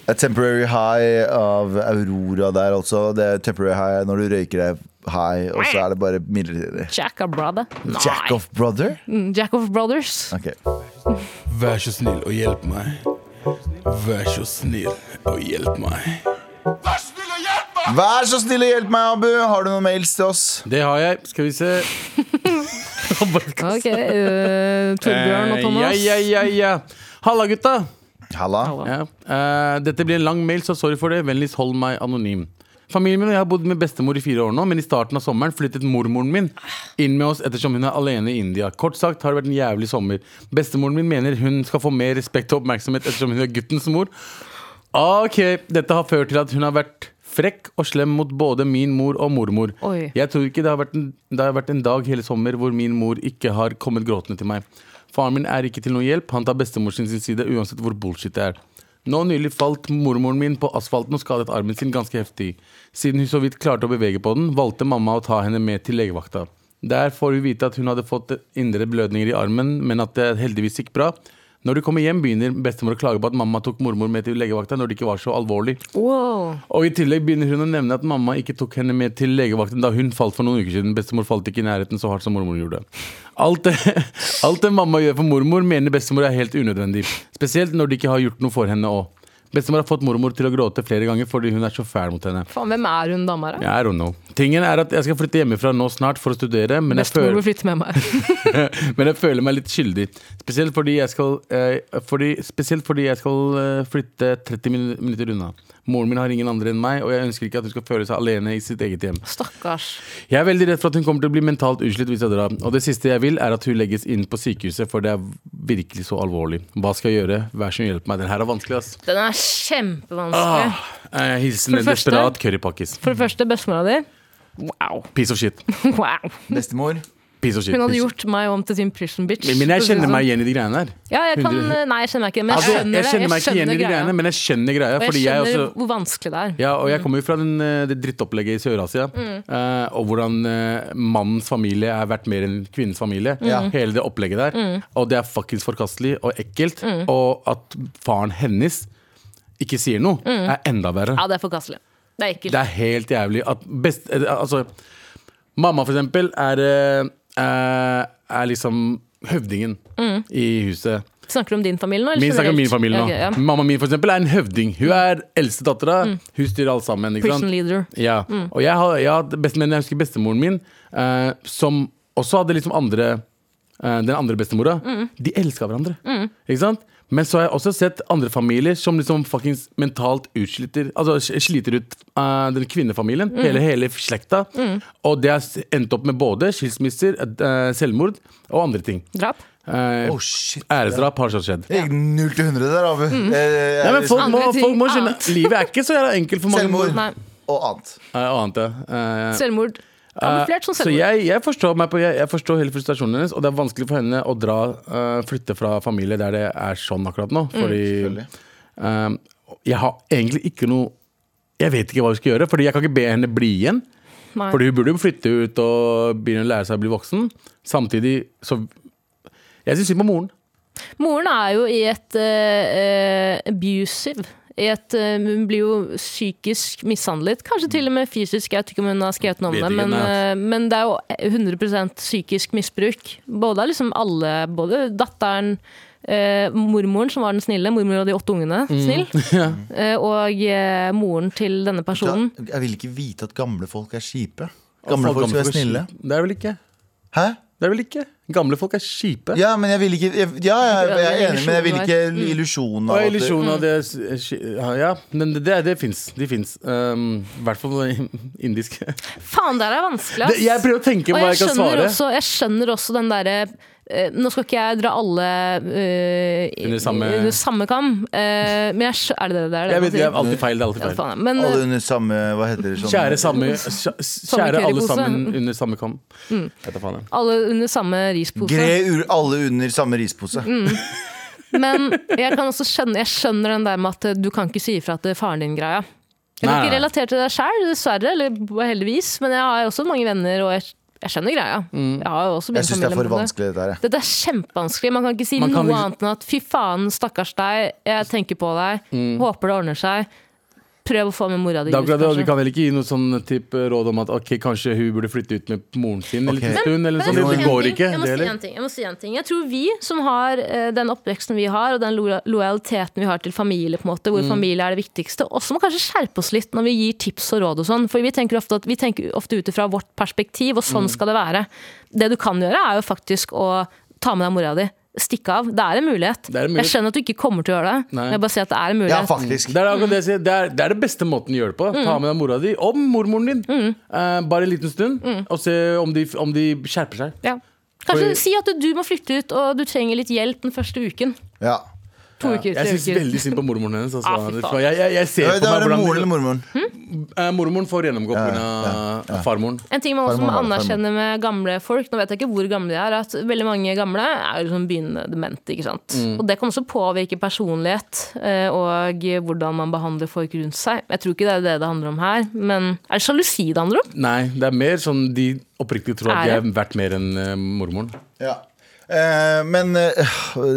[SPEAKER 2] A temporary high av Aurora der, altså. Det er temporary high når du røyker deg high, og så er det bare midlertidig.
[SPEAKER 3] Jack of brother. Nei.
[SPEAKER 2] Jack off brother?
[SPEAKER 3] Mm, Jack of brothers.
[SPEAKER 2] Ok.
[SPEAKER 4] Vær så snill og hjelp meg. Vær så snill og hjelp meg.
[SPEAKER 2] Vær så snill og hjelp meg, Abu. Har du noen mails til oss?
[SPEAKER 4] Det har jeg. Skal vi se.
[SPEAKER 3] Ok, eh, Torbjørn og
[SPEAKER 4] Eh,
[SPEAKER 3] Thomas.
[SPEAKER 4] Ja, ja, ja, ja. Halla, gutta.
[SPEAKER 2] Halla.
[SPEAKER 4] Ja. eh, dette blir en lang mail, så sorry for det. Vennligst hold meg anonym. Familien min og jeg har bodd med bestemor i fire år nå, men i starten av sommeren flyttet mormoren min inn med oss ettersom hun er alene i India. Kort sagt har det vært en jævlig sommer. Bestemoren min mener hun skal få mer respekt og oppmerksomhet ettersom hun er guttens mor. Ok, dette har ført til at hun har vært frekk og slem mot både min mor og mormor.
[SPEAKER 3] Oi.
[SPEAKER 4] Jeg tror ikke det har, vært en, det har vært en dag hele sommer hvor min mor ikke har kommet gråtende til meg. Faren min er ikke til noe hjelp, han tar bestemor sin sin side uansett hvor bullshit det er. Nå nylig falt mormoren min på asfalten og skadet armen sin ganske heftig. Siden hun så vidt klarte å bevege på den, valgte mamma å ta henne med til legevakta. Der får hun vite at hun hadde fått indre blødninger i armen, men at det heldigvis gikk bra. Når de kommer hjem, begynner bestemor å klage på at mamma tok mormor med til legevakta når det ikke var så alvorlig.
[SPEAKER 3] Wow.
[SPEAKER 4] Og i tillegg begynner hun å nevne at mamma ikke tok henne med til legevakten da hun falt for noen uker siden. Bestemor falt ikke i nærheten så hardt som mormor gjorde. Alt det, alt det mamma gjør for mormor, mener bestemor er helt unødvendig. Spesielt når de ikke har gjort noe for henne òg. Bestemor har fått mormor til å gråte flere ganger fordi hun er så fæl mot henne.
[SPEAKER 3] Faen, hvem er hun dama, da?
[SPEAKER 4] I don't know. Tingen er at jeg skal flytte hjemmefra nå snart for å studere, men jeg
[SPEAKER 3] Bestemor
[SPEAKER 4] føler
[SPEAKER 3] vil flytte med meg.
[SPEAKER 4] men jeg føler meg litt skyldig. Spesielt fordi jeg skal, eh, fordi, spesielt fordi jeg skal eh, flytte 30 min minutter unna. Moren min har ingen andre enn meg, og jeg ønsker ikke at hun skal føle seg alene i sitt eget hjem.
[SPEAKER 3] Stakkars.
[SPEAKER 4] Jeg er veldig redd for at hun kommer til å bli mentalt utslitt hvis jeg drar. Og det siste jeg vil, er at hun legges inn på sykehuset, for det er virkelig så alvorlig. Hva skal jeg gjøre? Vær så snill, hjelp meg. Den her er vanskelig, ass.
[SPEAKER 3] Den er kjempevanskelig.
[SPEAKER 4] Ah, eh, hilsen
[SPEAKER 3] For det
[SPEAKER 4] en
[SPEAKER 3] første-
[SPEAKER 4] desperat currypakkis.
[SPEAKER 3] For det første, bestemora di Wow.
[SPEAKER 4] Piece of shit.
[SPEAKER 3] wow.
[SPEAKER 2] Bestemor.
[SPEAKER 4] Piece of shit.
[SPEAKER 3] Hun hadde
[SPEAKER 4] Piece-
[SPEAKER 3] gjort meg om til sin prison bitch.
[SPEAKER 4] Men jeg
[SPEAKER 3] for å si det
[SPEAKER 4] kjenner meg
[SPEAKER 3] sånn.
[SPEAKER 4] igjen i de greiene her.
[SPEAKER 3] Ja, jeg kan,
[SPEAKER 4] 100.
[SPEAKER 3] nei, jeg kjenner meg ikke men
[SPEAKER 4] Altså,
[SPEAKER 3] jeg skjønner,
[SPEAKER 4] jeg
[SPEAKER 3] det,
[SPEAKER 4] kjenner meg ikke igjen i de
[SPEAKER 3] skjønner
[SPEAKER 4] greiene,
[SPEAKER 3] greia.
[SPEAKER 4] men jeg skjønner greia.
[SPEAKER 3] Og jeg
[SPEAKER 4] Fordi jeg
[SPEAKER 3] skjønner
[SPEAKER 4] også
[SPEAKER 3] hvor vanskelig det er.
[SPEAKER 4] Ja, og jeg kommer jo fra den, eh, det drittopplegget i Sør-Asia.
[SPEAKER 3] Mm.
[SPEAKER 4] eh, og hvordan eh, mannens familie er verdt mer enn kvinnens familie.
[SPEAKER 2] Ja.
[SPEAKER 4] Hele det opplegget der.
[SPEAKER 3] Mm.
[SPEAKER 4] Og det er fuckings forkastelig og ekkelt. Og at faren hennes ikke sier noe, er enda verre.
[SPEAKER 3] Mm. Ja, det er forkastelig. Det er ekkelt.
[SPEAKER 4] Det er helt jævlig at best, eh, Altså, mamma for eksempel er, eh, eh, er liksom høvdingen i huset.
[SPEAKER 3] Snakker du om din familie nå? eller
[SPEAKER 4] Min snakker om min
[SPEAKER 3] Mm. generelt?
[SPEAKER 4] familie nå.
[SPEAKER 3] Ja, Mm. ok, ja.
[SPEAKER 4] Mamma mi for eksempel er en høvding. Hun er eldste dattera. Hun styrer alt sammen. Ikke
[SPEAKER 3] Prison
[SPEAKER 4] sant?
[SPEAKER 3] leader.
[SPEAKER 4] Ja.
[SPEAKER 3] Mm.
[SPEAKER 4] Og jeg, har, jeg, har best, men jeg husker bestemoren min, eh, som også hadde liksom andre eh, Den andre bestemora.
[SPEAKER 3] Mm.
[SPEAKER 4] De elska hverandre. Ikke sant? Men så har jeg også sett andre familier som liksom fuckings mentalt utsliter Altså s- sliter ut eh, den kvinnefamilien.
[SPEAKER 3] Mm.
[SPEAKER 4] Hele, hele slekta. Og det har s- endt opp med både skilsmisser, eh, selvmord og andre ting.
[SPEAKER 3] Drap.
[SPEAKER 4] Eh,
[SPEAKER 2] Oh, shit.
[SPEAKER 4] æresdrap har så skjedd.
[SPEAKER 2] Det gikk null til hundre der, Abu. Eh,
[SPEAKER 4] Nei, men folk må,
[SPEAKER 3] Andre ting,
[SPEAKER 4] folk må skjønne
[SPEAKER 3] annet.
[SPEAKER 4] Livet er ikke så jævla enkelt for mange
[SPEAKER 2] Selvmord.
[SPEAKER 3] Nei.
[SPEAKER 2] Og annet.
[SPEAKER 4] Eh, annet, ja. Eh,
[SPEAKER 3] Selvmord. Kamuflert som
[SPEAKER 4] så
[SPEAKER 3] selvmord.
[SPEAKER 4] jeg, jeg forstår meg på jeg, jeg forstår hele frustrasjonen hennes, og det er vanskelig for henne å dra, eh, flytte fra familie der det er sånn akkurat
[SPEAKER 3] Mm.
[SPEAKER 4] nå. Fordi eh, jeg har egentlig ikke noe Jeg vet ikke hva vi skal gjøre, Fordi jeg kan ikke be henne bli igjen.
[SPEAKER 3] Nei.
[SPEAKER 4] Fordi hun burde jo flytte ut og begynne å lære seg å bli voksen. Samtidig så Jeg syns synd på moren.
[SPEAKER 3] Moren er jo i et eh, eh, abusive i et, eh, hun blir jo psykisk mishandlet, kanskje til og med fysisk. Jeg vet ikke om hun har skrevet noe om
[SPEAKER 4] Vet
[SPEAKER 3] det,
[SPEAKER 4] ikke,
[SPEAKER 3] men,
[SPEAKER 4] nei.
[SPEAKER 3] eh, men det er jo 100 psykisk misbruk. Både av liksom alle, både datteren, eh, mormoren, som var den snille, mormor og de åtte ungene,
[SPEAKER 4] Mm.
[SPEAKER 3] snill. Eh, og eh, moren til denne personen.
[SPEAKER 2] Da- Jeg vil ikke vite at gamle folk er kjipe. Gamle folk skal
[SPEAKER 4] er
[SPEAKER 2] være snille.
[SPEAKER 4] kjipe. Det er vel ikke
[SPEAKER 2] Hæ?
[SPEAKER 4] Det er vel ikke Gamle folk er kjipe.
[SPEAKER 2] Ja, men jeg vil ikke jeg, Ja, jeg, jeg er enig, men jeg vil ikke illusjonen
[SPEAKER 4] Og
[SPEAKER 2] av at det-
[SPEAKER 4] illusjonen av det er ski- Ja, ja. men det, det, det fins. De fins. Um, I hvert fall indiske.
[SPEAKER 3] Faen, det her er vanskelig,
[SPEAKER 4] Det,
[SPEAKER 3] ass!
[SPEAKER 4] jeg prøver å tenke
[SPEAKER 3] og
[SPEAKER 4] hva
[SPEAKER 3] jeg
[SPEAKER 4] jeg kan
[SPEAKER 3] skjønner,
[SPEAKER 4] svare.
[SPEAKER 3] også, jeg skjønner også den derre eh, Nå skal ikke jeg dra alle eh, i-
[SPEAKER 4] Under samme-
[SPEAKER 3] i- under samme kam, eh, men jeg skjø- Er det det det er?
[SPEAKER 4] Jeg vet,
[SPEAKER 3] det
[SPEAKER 4] det
[SPEAKER 3] man
[SPEAKER 4] er alltid feil. Det er alltid
[SPEAKER 3] sier? Ja,
[SPEAKER 4] feil.
[SPEAKER 3] faen, men, eh,
[SPEAKER 2] Alle under samme Hva heter det? Sånn,
[SPEAKER 4] Kjære, samme, kjæ- kjære alle
[SPEAKER 3] currypose.
[SPEAKER 4] sammen under samme kam.
[SPEAKER 3] Mm.
[SPEAKER 4] Vet da faen, jeg.
[SPEAKER 3] alle under samme rispose.
[SPEAKER 2] Gre ur, alle under samme rispose.
[SPEAKER 3] Men jeg kan også skjønne Jeg skjønner den der med at eh, du kan ikke si ifra til faren din-greia. Jeg kan
[SPEAKER 4] Nei,
[SPEAKER 3] ikke
[SPEAKER 4] nei.
[SPEAKER 3] relatere til deg sjæl, dessverre, eller b- heldigvis, men jeg har jo også mange venner, og jeg, jeg skjønner greia.
[SPEAKER 4] Mm.
[SPEAKER 3] Jeg har jo også min
[SPEAKER 2] Jeg syns det er
[SPEAKER 3] familie
[SPEAKER 2] for
[SPEAKER 3] med
[SPEAKER 2] vanskelig, dette her. jeg.
[SPEAKER 3] Dette er kjempevanskelig. Man kan ikke si
[SPEAKER 4] Man kan
[SPEAKER 3] noe
[SPEAKER 4] ikke-
[SPEAKER 3] annet enn at 'fy faen, stakkars deg, jeg tenker på deg,
[SPEAKER 4] Mm.
[SPEAKER 3] håper det ordner seg'. Prøv å få med mora di
[SPEAKER 4] Det er
[SPEAKER 3] ut,
[SPEAKER 4] akkurat det, og Vi
[SPEAKER 3] kanskje.
[SPEAKER 4] kan vel ikke gi noe sånn typ råd om at ok, kanskje hun burde flytte ut med moren sin en
[SPEAKER 2] Ok.
[SPEAKER 4] liten stund. Eller sånn.
[SPEAKER 2] Men-
[SPEAKER 4] Det, det går ikke.
[SPEAKER 3] Jeg må
[SPEAKER 4] Det,
[SPEAKER 3] si
[SPEAKER 4] heller.
[SPEAKER 3] en ting. Jeg må si en ting. Jeg tror vi som har eh, den oppveksten vi har, og den lo- lojaliteten vi har til familie, på en måte, hvor
[SPEAKER 4] Mm.
[SPEAKER 3] familie er det viktigste, også må kanskje skjerpe oss litt når vi gir tips og råd og sånn. For vi tenker ofte, at- vi tenker ofte ut ifra vårt perspektiv, og
[SPEAKER 4] Mm.
[SPEAKER 3] sånn skal det være. Det du kan gjøre, er jo faktisk å ta med deg mora di. Stikke av. Det er en mulighet.
[SPEAKER 4] Det er en mulighet.
[SPEAKER 3] Jeg skjønner at du ikke kommer til å gjøre det,
[SPEAKER 4] Nei.
[SPEAKER 3] men jeg bare sier at det er en
[SPEAKER 2] Ja,
[SPEAKER 3] mulighet.
[SPEAKER 2] faktisk.
[SPEAKER 4] Mm. Det er,
[SPEAKER 3] Mm.
[SPEAKER 4] akkurat det, jeg sier. det, er, det er det beste måten å gjøre det på. Ta med deg mora di og mormoren din
[SPEAKER 3] Mm.
[SPEAKER 4] eh, bare en liten stund, og se om de, om de skjerper seg.
[SPEAKER 3] Ja. Kanskje
[SPEAKER 4] For-
[SPEAKER 3] si at du må flytte ut, og du trenger litt hjelp den første uken.
[SPEAKER 2] Ja.
[SPEAKER 3] To uker, tre
[SPEAKER 4] Jeg syns
[SPEAKER 3] uker.
[SPEAKER 4] veldig synd på mormoren hennes. Altså.
[SPEAKER 3] Ah, fy faen.
[SPEAKER 4] jeg, jeg, jeg ser
[SPEAKER 2] Det
[SPEAKER 4] på
[SPEAKER 2] var
[SPEAKER 4] meg
[SPEAKER 2] det moren eller
[SPEAKER 4] hvordan
[SPEAKER 2] mormoren.
[SPEAKER 4] Eh, Mormoren får gjennomgå pga. farmoren.
[SPEAKER 3] En ting man også må
[SPEAKER 2] Farmor, farmor.
[SPEAKER 3] anerkjenne med gamle folk, nå vet jeg ikke hvor gamle de er, er at veldig mange gamle er jo liksom begynnende demente. ikke sant?
[SPEAKER 2] Mm.
[SPEAKER 3] Og det kan også påvirke personlighet eh, og hvordan man behandler folk rundt seg. Jeg tror ikke det er det det handler om her, men er det sjalusi det handler om?
[SPEAKER 4] Nei, det er mer sånn de oppriktig tror at de
[SPEAKER 3] Er
[SPEAKER 4] er verdt mer enn eh, mormoren.
[SPEAKER 2] Ja. Eh, men eh, det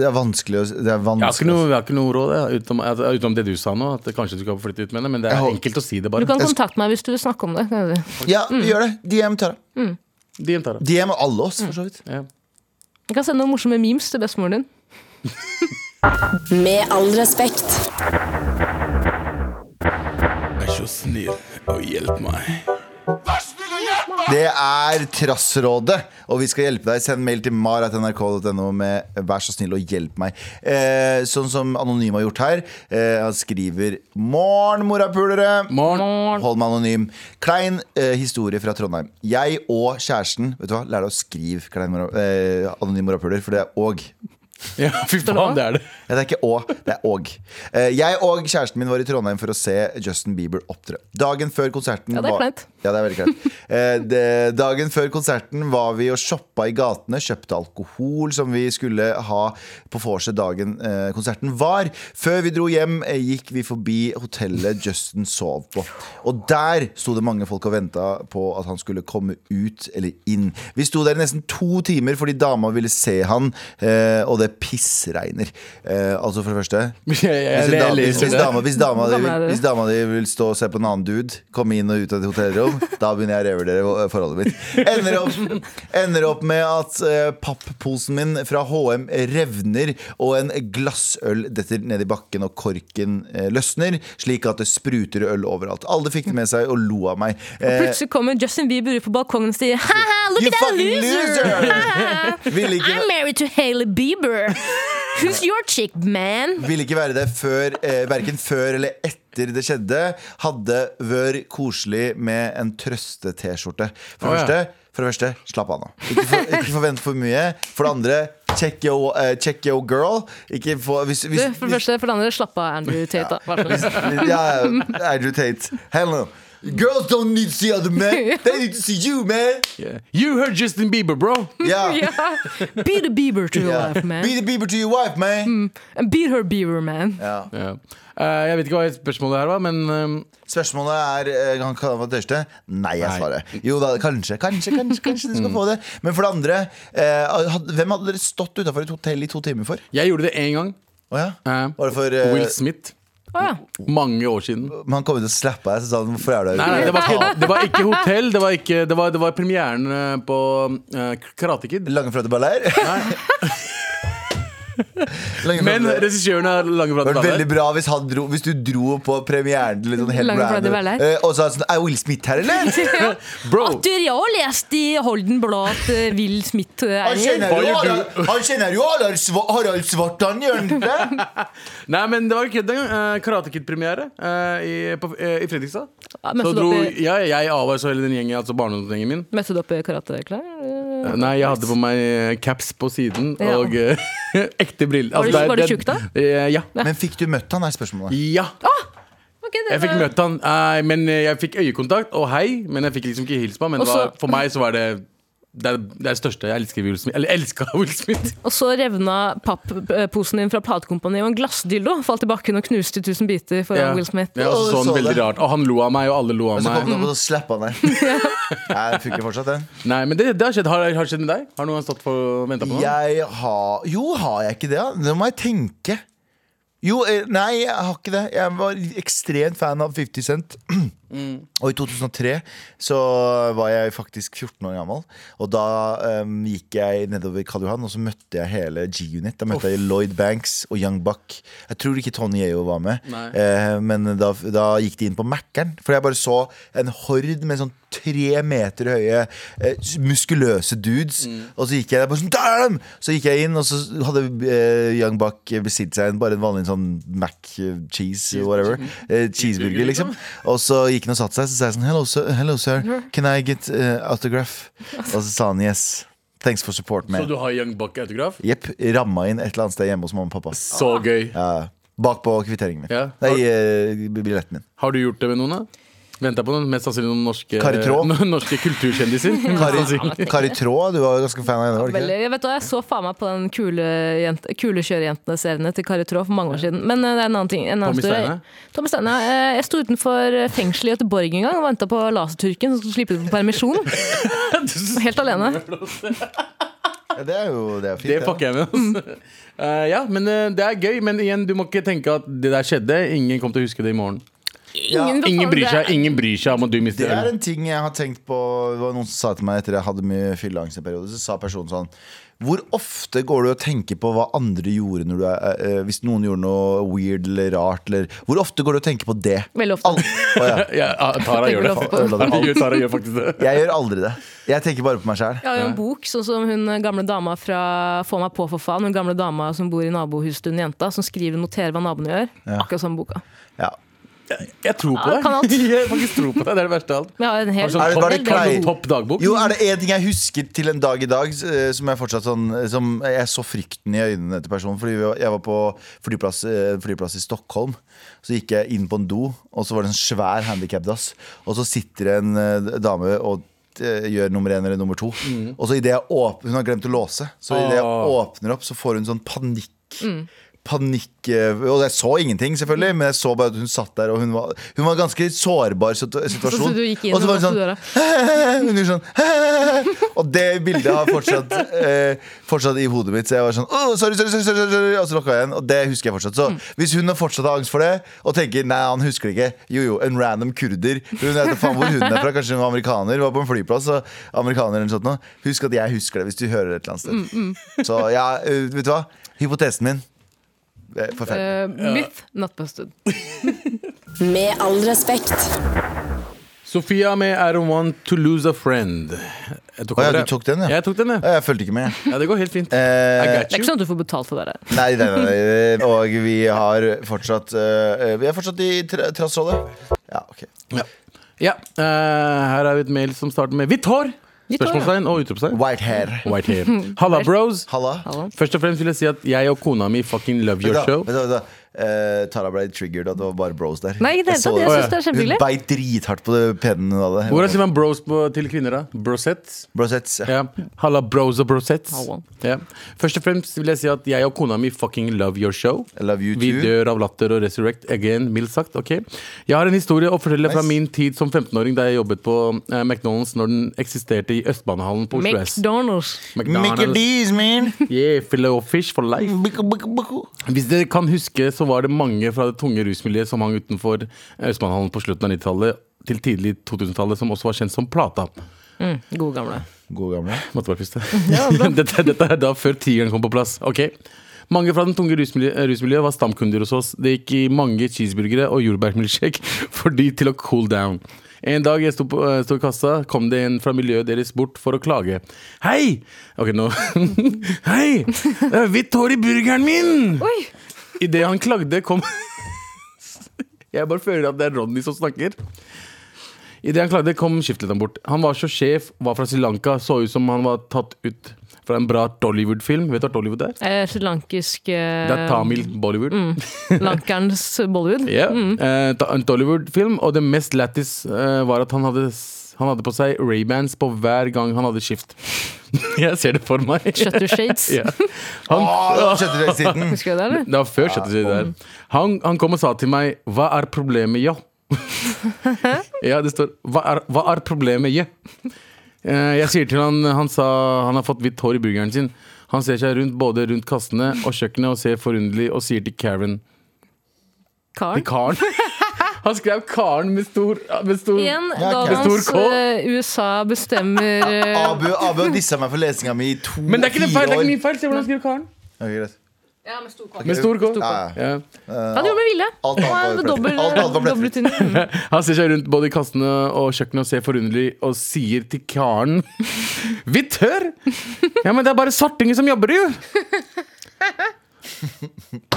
[SPEAKER 2] er vanskelig å Det er
[SPEAKER 4] Jeg har ikke
[SPEAKER 2] vanskelig.
[SPEAKER 4] noe, jeg har ikke noe råd jeg, utenom, at- utenom det du sa nå, at kanskje du skal flytte ut med henne. Men det er
[SPEAKER 2] Jeg håper-
[SPEAKER 4] enkelt å si det,
[SPEAKER 3] Du
[SPEAKER 4] bare.
[SPEAKER 3] kan
[SPEAKER 2] Jeg sk-
[SPEAKER 3] kontakte meg hvis du vil snakke om det. kan jeg si.
[SPEAKER 2] Ja, gjør det. DM Tara.
[SPEAKER 4] De jenter, da.
[SPEAKER 2] DM alle oss, for så vidt.
[SPEAKER 4] ja.
[SPEAKER 3] Jeg kan sende noen morsomme memes til bestemoren din.
[SPEAKER 1] Med all respekt.
[SPEAKER 4] Vær så snill og hjelp meg.
[SPEAKER 2] Det er Trassrådet, og vi skal hjelpe deg. Send mail til mar.nrk.no med 'vær så snill og hjelp meg'. Eh, sånn som Anonym har gjort her. Eh, han skriver 'Morn, morapulere'.
[SPEAKER 4] Morgen.
[SPEAKER 2] Hold meg anonym. Klein eh, historie fra Trondheim. Jeg og kjæresten Vet du hva, lær deg å skrive klein, mora- eh, anonym morapuler, for det er 'og'.
[SPEAKER 4] Ja, fy faen, det er det.
[SPEAKER 2] Ja, det er ikke å, det er og. Eh, Jeg og kjæresten min var i Trondheim for å se Justin Bieber opptre. Dagen før konserten
[SPEAKER 3] Ja, det er
[SPEAKER 2] var-
[SPEAKER 3] kleint.
[SPEAKER 2] Ja, det er veldig kleint. Eh, det- Dagen før konserten var vi og shoppa i gatene, kjøpte alkohol som vi skulle ha på vorset dagen eh, konserten var. Før vi dro hjem, eh, gikk vi forbi hotellet Justin sov på. Og der sto det mange folk og venta på at han skulle komme ut eller inn. Vi sto der i nesten to timer fordi dama ville se han, eh, og det pissregner. Eh, Altså, for det første hvis,
[SPEAKER 4] Jeg, jeg, jeg,
[SPEAKER 2] en
[SPEAKER 4] jeg
[SPEAKER 2] dame, hvis,
[SPEAKER 4] leser
[SPEAKER 2] hvis,
[SPEAKER 4] det.
[SPEAKER 2] dama, hvis, dama
[SPEAKER 3] Hvor
[SPEAKER 2] di
[SPEAKER 3] gammel er
[SPEAKER 2] vil,
[SPEAKER 3] du?
[SPEAKER 2] hvis dama di vil stå og se på en annen dude, komme inn og ut av et hotellrom, da begynner jeg å reve dere i forholdet mitt. Ender opp, ender opp med at eh, papposen min fra HM revner, og en glassøl detter ned i bakken, og korken eh, løsner, slik at det spruter øl overalt. Alle fikk det med seg og lo av meg. Eh,
[SPEAKER 3] Plutselig kommer Justin Bieber ut på balkongen og sier ha-ha,
[SPEAKER 2] You
[SPEAKER 3] look at that
[SPEAKER 2] fucking
[SPEAKER 3] loser!
[SPEAKER 2] loser! Ville ikke,
[SPEAKER 3] I'm married to Hailey Bieber! Who's your chick, man?
[SPEAKER 2] Ville ikke være det før, eh, verken før eller etter det skjedde. Hadde vært koselig med en trøste-T-skjorte. For, det
[SPEAKER 4] Å, ja.
[SPEAKER 2] første- for det første, slapp av nå. Ikke, for, ikke forvent for mye. For det andre, check yo, eh, check yo girl. Ikke få hvis, hvis,
[SPEAKER 3] Du, for det første, for det andre, slapp av Andrew Tate. da. Vær så snill.
[SPEAKER 2] hvis- Ja, Andrew Tate. Hell no. Girls don't need to see other men. They need to see you, man.
[SPEAKER 4] Yeah. You heard Justin Bieber, bro!
[SPEAKER 2] Ja.
[SPEAKER 3] Ja. Beat a beaver to your
[SPEAKER 2] Ja.
[SPEAKER 3] life, man. Mm.
[SPEAKER 2] Be the Bieber to your wife, man.
[SPEAKER 3] And beat her beaver, man.
[SPEAKER 2] Ja.
[SPEAKER 4] Ja. Eh, jeg vet ikke hva spørsmålet her var, men ehm,
[SPEAKER 2] Spørsmålet er eh, Han kan få tørste Nei, jeg svarer Jo da, kanskje, kanskje, kanskje, kanskje du skal få det Men for det andre eh, had- Hvem hadde dere stått utenfor et hotell i to timer for?
[SPEAKER 4] jeg gjorde det én gang.
[SPEAKER 2] Åja
[SPEAKER 4] Eh,
[SPEAKER 2] Var det for eh,
[SPEAKER 4] Will Smith.
[SPEAKER 3] Å ja.
[SPEAKER 4] Mange år siden.
[SPEAKER 2] Man kom ut og slappet deg Så sa han Hvorfor er du her?
[SPEAKER 4] Nei, nei det, var ikke, det var ikke hotell. Det var, ikke, det var, det var premieren eh, på eh, Karate Kid.
[SPEAKER 2] Lange fløte baller
[SPEAKER 4] Nei.
[SPEAKER 2] Lange
[SPEAKER 4] Men
[SPEAKER 2] flate.
[SPEAKER 4] regissøren har lange
[SPEAKER 2] Det
[SPEAKER 4] flate
[SPEAKER 2] hadde vært veldig
[SPEAKER 4] planer.
[SPEAKER 2] bra hvis, han dro, hvis du dro på premieren til litt sånn helt
[SPEAKER 3] Lange flate
[SPEAKER 2] random,
[SPEAKER 3] baller.
[SPEAKER 2] eh, og sa sånn Er Will Smith her, eller?
[SPEAKER 4] Bro,
[SPEAKER 3] Atter, jeg har lest i Holden Blad at eh, Will Smith eh,
[SPEAKER 2] Han
[SPEAKER 3] er
[SPEAKER 2] kjenner
[SPEAKER 4] Hva
[SPEAKER 2] jo
[SPEAKER 4] gjør
[SPEAKER 2] Harald- han kjenner jo Harald Sva- Harald Svartan, gjør han ikke det?
[SPEAKER 4] Nei, men det var ikke kødd engang. Uh, Karate Kid-premiere eh, i, på- eh, i Fredrikstad.
[SPEAKER 3] Ja,
[SPEAKER 4] Så
[SPEAKER 3] møtte du
[SPEAKER 4] dro
[SPEAKER 3] opp i-
[SPEAKER 4] jeg, jeg Avars og hele den gjengen, altså barndomsgjengen min.
[SPEAKER 3] Møtte du opp i karateklær? Eh,
[SPEAKER 4] Eh, Nei, jeg hadde på meg eh, caps på siden
[SPEAKER 3] Ja.
[SPEAKER 4] og eh, ekte briller. Altså,
[SPEAKER 3] Var du-
[SPEAKER 4] det er-
[SPEAKER 3] var du
[SPEAKER 4] det er-
[SPEAKER 3] tjukk da?
[SPEAKER 4] Eh, ja.
[SPEAKER 2] Men fikk du møtt han, er spørsmålet.
[SPEAKER 4] ja.
[SPEAKER 3] ok, det
[SPEAKER 4] Jeg fikk
[SPEAKER 3] var-
[SPEAKER 4] møtt han, eh, men jeg fikk øyekontakt og hei. Men jeg fikk liksom ikke hilse på han. Men
[SPEAKER 3] Og
[SPEAKER 4] det var,
[SPEAKER 3] så-
[SPEAKER 4] for meg så var det det, er det er det største. Jeg elsker Will Smith. Eller elska Will Smith.
[SPEAKER 3] Og så revna papposen din fra platekompaniet, og en glassdildo falt i bakken og knuste i tusen biter foran
[SPEAKER 4] Ja.
[SPEAKER 3] Will Smith.
[SPEAKER 4] Ja,
[SPEAKER 2] Å,
[SPEAKER 4] og så så
[SPEAKER 2] du så
[SPEAKER 4] han
[SPEAKER 2] det.
[SPEAKER 4] sånn veldig rart. Og han lo av meg, og alle lo av
[SPEAKER 2] Og så kom
[SPEAKER 4] meg.
[SPEAKER 2] han opp og så slapp han der. Jeg funker fortsatt, den.
[SPEAKER 4] Nei, men det, det har skjedd. Har, har det skjedd med deg? Har noen stått for venta på noe?
[SPEAKER 2] Jeg har Jo, har jeg ikke det? da? Det må jeg tenke. Jo, eh, nei, jeg har ikke det. Jeg var ekstremt fan av 50 Cent. Og i 2003 så var jeg faktisk 14 år gammel. Og da em, gikk jeg nedover Karl Johan, og så møtte jeg hele G-Unit. Da møtte jeg Lloyd Banks og Young Buck. Jeg tror ikke Tony Yeo var med.
[SPEAKER 4] Nei.
[SPEAKER 2] Eh, men da, da gikk de inn på Mækkern, for jeg bare så en hord med sånn tre meter høye eh, s- muskuløse dudes. Og så gikk jeg der bare sånn Der er dem! Så gikk jeg inn, og så hadde eh, Young Buck bestilt seg en, bare en vanlig sånn Mac eh, cheese, whatever. Eh, cheeseburger, liksom. Og så gikk han og satte seg, så sa jeg sånn Hello, sir. Hello, sir. Can I get eh, autograph? Og så sa han yes. Thanks for support,
[SPEAKER 4] Så
[SPEAKER 2] man.
[SPEAKER 4] du har Young Buck-autograf?
[SPEAKER 2] Jepp. Ramma inn et eller annet sted hjemme hos mamma og pappa.
[SPEAKER 4] Så gøy.
[SPEAKER 2] Ja, Bakpå kvitteringen min.
[SPEAKER 4] Ja.
[SPEAKER 2] Nei, eh, billetten min.
[SPEAKER 4] Har du gjort det med noen, da? Venta på noen, mest sannsynlig noen norske,
[SPEAKER 2] Kari Traa.
[SPEAKER 4] noen norske kulturkjendiser. mest sannsynlig.
[SPEAKER 2] Kari, Kari Traa, du var ganske fan av henne? var du ikke det?
[SPEAKER 3] Veldig, jeg, vet, hva, jeg så faen meg på den kule jente- kulekjørejentene-seriene til Kari Traa for mange år siden. Men eh, det er en annen ting. En annen
[SPEAKER 4] Tommy
[SPEAKER 3] historie.
[SPEAKER 4] Steine?
[SPEAKER 3] Tommy Steine. eh, Jeg sto utenfor eh, fengselet i Gøteborg en gang og venta på Laserturken som skulle slippe ut på permisjon. Helt alene.
[SPEAKER 2] Ja, Mm. det er jo det er fint.
[SPEAKER 4] Det fucker jeg med. Altså. Eh, ja, men eh, det er gøy. Men igjen, du må ikke tenke at det der skjedde. Ingen kommer til å huske det i morgen.
[SPEAKER 3] Ingen,
[SPEAKER 4] Ingen bryr seg,
[SPEAKER 3] Det-
[SPEAKER 4] ingen bryr seg om at du
[SPEAKER 2] Det
[SPEAKER 4] mister
[SPEAKER 2] er
[SPEAKER 4] ølen.
[SPEAKER 2] en ting jeg har tenkt på Det var noen som sa til meg etter jeg hadde mye fylleangst en periode, så sa personen sånn Hvor ofte går du og tenker på hva andre gjorde når du er eh, Hvis noen gjorde noe weird eller rart, eller Hvor ofte går du og tenker på det?
[SPEAKER 3] Veldig ofte.
[SPEAKER 2] Al- Å, ja.
[SPEAKER 4] Ja, ah, Tara
[SPEAKER 3] Jeg
[SPEAKER 4] gjør det.
[SPEAKER 3] tenker
[SPEAKER 2] på det.
[SPEAKER 4] Ja, gjør- Tara gjør faktisk det.
[SPEAKER 2] Jeg gjør aldri det. Jeg tenker bare på meg sjæl.
[SPEAKER 3] Jeg har jo en bok, sånn som hun gamle dama fra Få meg på for faen. Hun gamle dama som bor i nabohuset til en jenta, som skriver og noterer hva naboene gjør. Akkurat samme boka.
[SPEAKER 2] Ja.
[SPEAKER 4] Jeg tror på
[SPEAKER 3] Ja, kan alt.
[SPEAKER 4] deg. Jeg faktisk tror på deg, Det er det verste av alt.
[SPEAKER 3] Men jeg har en hel
[SPEAKER 4] Har du sånn
[SPEAKER 2] var
[SPEAKER 4] topp,
[SPEAKER 2] det
[SPEAKER 4] har du
[SPEAKER 2] klei-
[SPEAKER 4] sånn topp dagbok?
[SPEAKER 2] Jo, er det én ting jeg husker til en dag i dag eh, som jeg fortsatt sånn Som jeg så frykten i øynene til personen. Fordi vi var- jeg var på flyplass, eh, flyplass i Stockholm. Så gikk jeg inn på en do, og så var det en svær handikapdass. Og så sitter det en eh, dame og eh, gjør nummer én eller nummer to. Og så i det jeg åp Hun har glemt å låse, så idet jeg
[SPEAKER 4] Åh.
[SPEAKER 2] åpner opp, så får hun sånn panikk. Panikk eh, Og jeg så ingenting, selvfølgelig, men jeg så bare at hun satt der, og hun var, hun var en ganske sårbar situ- situasjon.
[SPEAKER 3] Så du gikk inn
[SPEAKER 2] og så var
[SPEAKER 3] og
[SPEAKER 2] hun sånn
[SPEAKER 3] låste døra?
[SPEAKER 2] hun gjorde sånn Og det bildet har fortsatt eh, Fortsatt i hodet mitt Så jeg var sånn «Åh, sorry, sorry, sorry, sorry, sorry Og så lukket jeg igjen Og det husker jeg fortsatt Så
[SPEAKER 3] Mm.
[SPEAKER 2] hvis hun har fortsatt har angst for det Og tenker, nei, han husker det ikke Jo, jo, en random kurder Hun vet da faen hvor hun er fra Kanskje hun var amerikaner Var på en flyplass Og amerikaner eller noe sånt nå. Husk at jeg husker det Hvis du hører det et eller annet
[SPEAKER 3] Mm,
[SPEAKER 2] sted Så ja, eh, vet du hva? Hypotesen min eh, Forferdelig
[SPEAKER 3] Eh, myth, not busted.
[SPEAKER 1] Med all respekt.
[SPEAKER 4] Sofia med I Don't Want To Lose A Friend. Eh, Jeg tok
[SPEAKER 2] Å ja,
[SPEAKER 4] over,
[SPEAKER 2] du
[SPEAKER 4] jeg.
[SPEAKER 2] tok den, ja.
[SPEAKER 4] Jeg tok den, ja.
[SPEAKER 2] Eh, Jeg følte ikke med
[SPEAKER 4] ja det går helt fint.
[SPEAKER 2] Eh,
[SPEAKER 4] I got
[SPEAKER 3] Det er
[SPEAKER 4] you.
[SPEAKER 3] ikke sånn at du får betalt for det. her.
[SPEAKER 2] Nei, nei, nei, nei. Og vi har fortsatt eh, Vi er fortsatt i tra trassholdet. Ja, ok.
[SPEAKER 4] Ja. ja. eh, her er et mail som starter med hvitt hår!
[SPEAKER 3] Hvitt hår, ja.
[SPEAKER 4] Spørsmålstegn og utropstegn.
[SPEAKER 2] White hair.
[SPEAKER 4] White hair. Halla, bros.
[SPEAKER 2] Halla.
[SPEAKER 3] Hallo.
[SPEAKER 4] Først og fremst vil jeg si at jeg og kona mi fucking love
[SPEAKER 2] Vent
[SPEAKER 4] your
[SPEAKER 2] da,
[SPEAKER 4] show.
[SPEAKER 2] vent da, vent da. Eh, Tara ble triggered av at det var bare bros der.
[SPEAKER 3] Nei, ikke det hele
[SPEAKER 2] så
[SPEAKER 3] tatt. Jeg
[SPEAKER 4] Å, ja.
[SPEAKER 3] synes det er
[SPEAKER 2] Hun
[SPEAKER 3] kjempehyggelig.
[SPEAKER 2] beit drithardt på det pennen hun hadde.
[SPEAKER 4] Hvordan sier man bros på, til kvinner, da? Brosettes?
[SPEAKER 2] Brosettes. Ja.
[SPEAKER 4] Ja. Halla, bros og brosettes.
[SPEAKER 3] Hallo.
[SPEAKER 4] Ja. Først og fremst vil jeg si at jeg og kona mi fucking love your show.
[SPEAKER 2] I love you
[SPEAKER 4] Vi
[SPEAKER 2] too.
[SPEAKER 4] dør av latter og resurrect again, mildt sagt. ok? Jeg har en historie å fortelle fra
[SPEAKER 2] Nice.
[SPEAKER 4] min tid som 15-åring da jeg jobbet på eh, McDonald's når den eksisterte i Østbanehallen på Oslo S.
[SPEAKER 3] McDonald's.
[SPEAKER 2] Make it these, man.
[SPEAKER 4] Yeah, filet og fish for life.
[SPEAKER 2] Bukku, bukku, bukku.
[SPEAKER 4] Hvis dere kan huske, så var det mange fra det tunge rusmiljøet som hang utenfor Østbanehallen på slutten av 90-tallet til tidlig 2000-tallet, som også var kjent som Plata.
[SPEAKER 3] Gode gamle.
[SPEAKER 2] God gamle.
[SPEAKER 4] Måtte bare puste. dette, dette er da før tigeren kom på plass. Ok Mange fra den tunge rusmiljø- eh, rusmiljøet var stamkunder hos oss. Det gikk i mange cheeseburgere og jordbærmilkshake for de til å cool down. En dag jeg sto, på, eh, sto i kassa, kom det en fra miljøet deres bort for å klage. Hei! Ok, nå Hei! Det er hvitt hår i burgeren min!
[SPEAKER 3] Oi!
[SPEAKER 4] Idet han klagde, kom Jeg bare føler at det er Ronny som snakker. Idet han klagde, kom skiftlederen bort. Han var så sjef, var fra Sri Lanka, så ut som han var tatt ut fra en bra Dollywood-film. Vet du hva Dollywood er?
[SPEAKER 3] Eh, Srilankisk eh,
[SPEAKER 4] Det er Tamil Bollywood.
[SPEAKER 3] Lankerens Bollywood.
[SPEAKER 4] Ja, eh, ta- en Dollywood-film, og det mest lættis eh, var at han hadde, s- han hadde på seg Ray-Bans på hver gang han hadde skift. Jeg ser det for meg.
[SPEAKER 3] Shutter Shades.
[SPEAKER 4] Ja. Han,
[SPEAKER 2] Åh, skjønte dere siden?
[SPEAKER 3] Husker du det, eller?
[SPEAKER 4] det var før Shutter Shades. der. Han, han kom og sa til meg 'Hva er problemet, ja?' ja, det står 'Hva er, hva er problemet, ja?' Eh, Jeg sier til han Han sa han har fått hvitt hår i burgeren sin. Han ser seg rundt både rundt kassene og kjøkkenet og ser forunderlig og sier til Karen
[SPEAKER 3] Karen.
[SPEAKER 4] til Karen. Han skrev Karen med stor, med stor
[SPEAKER 3] Igjen,
[SPEAKER 2] Ja, Karen.
[SPEAKER 4] Med
[SPEAKER 3] dagens
[SPEAKER 4] stor K.
[SPEAKER 3] eh, USA bestemmer eh,
[SPEAKER 2] Abu, Abu har dissa meg for lesinga mi i to
[SPEAKER 4] Men det er ikke det feil, det er ikke
[SPEAKER 2] fire
[SPEAKER 4] min feil. Se hvordan han skriver Karen.
[SPEAKER 2] år. Ok, greit.
[SPEAKER 3] Ja, med stor K.
[SPEAKER 4] Med stor K.
[SPEAKER 2] Ja, ja.
[SPEAKER 4] Ja.
[SPEAKER 3] Han gjorde med vilje.
[SPEAKER 2] Alt annet var
[SPEAKER 3] Han er
[SPEAKER 2] jo
[SPEAKER 3] dobbel-
[SPEAKER 2] Alt annet var
[SPEAKER 3] dobbelt
[SPEAKER 2] plettfritt.
[SPEAKER 3] inn.
[SPEAKER 4] Han ser seg rundt både i kassene og kjøkkenet og ser forunderlig og sier til Karen Vi tør! Ja, men det er bare svartinger som jobber, jo!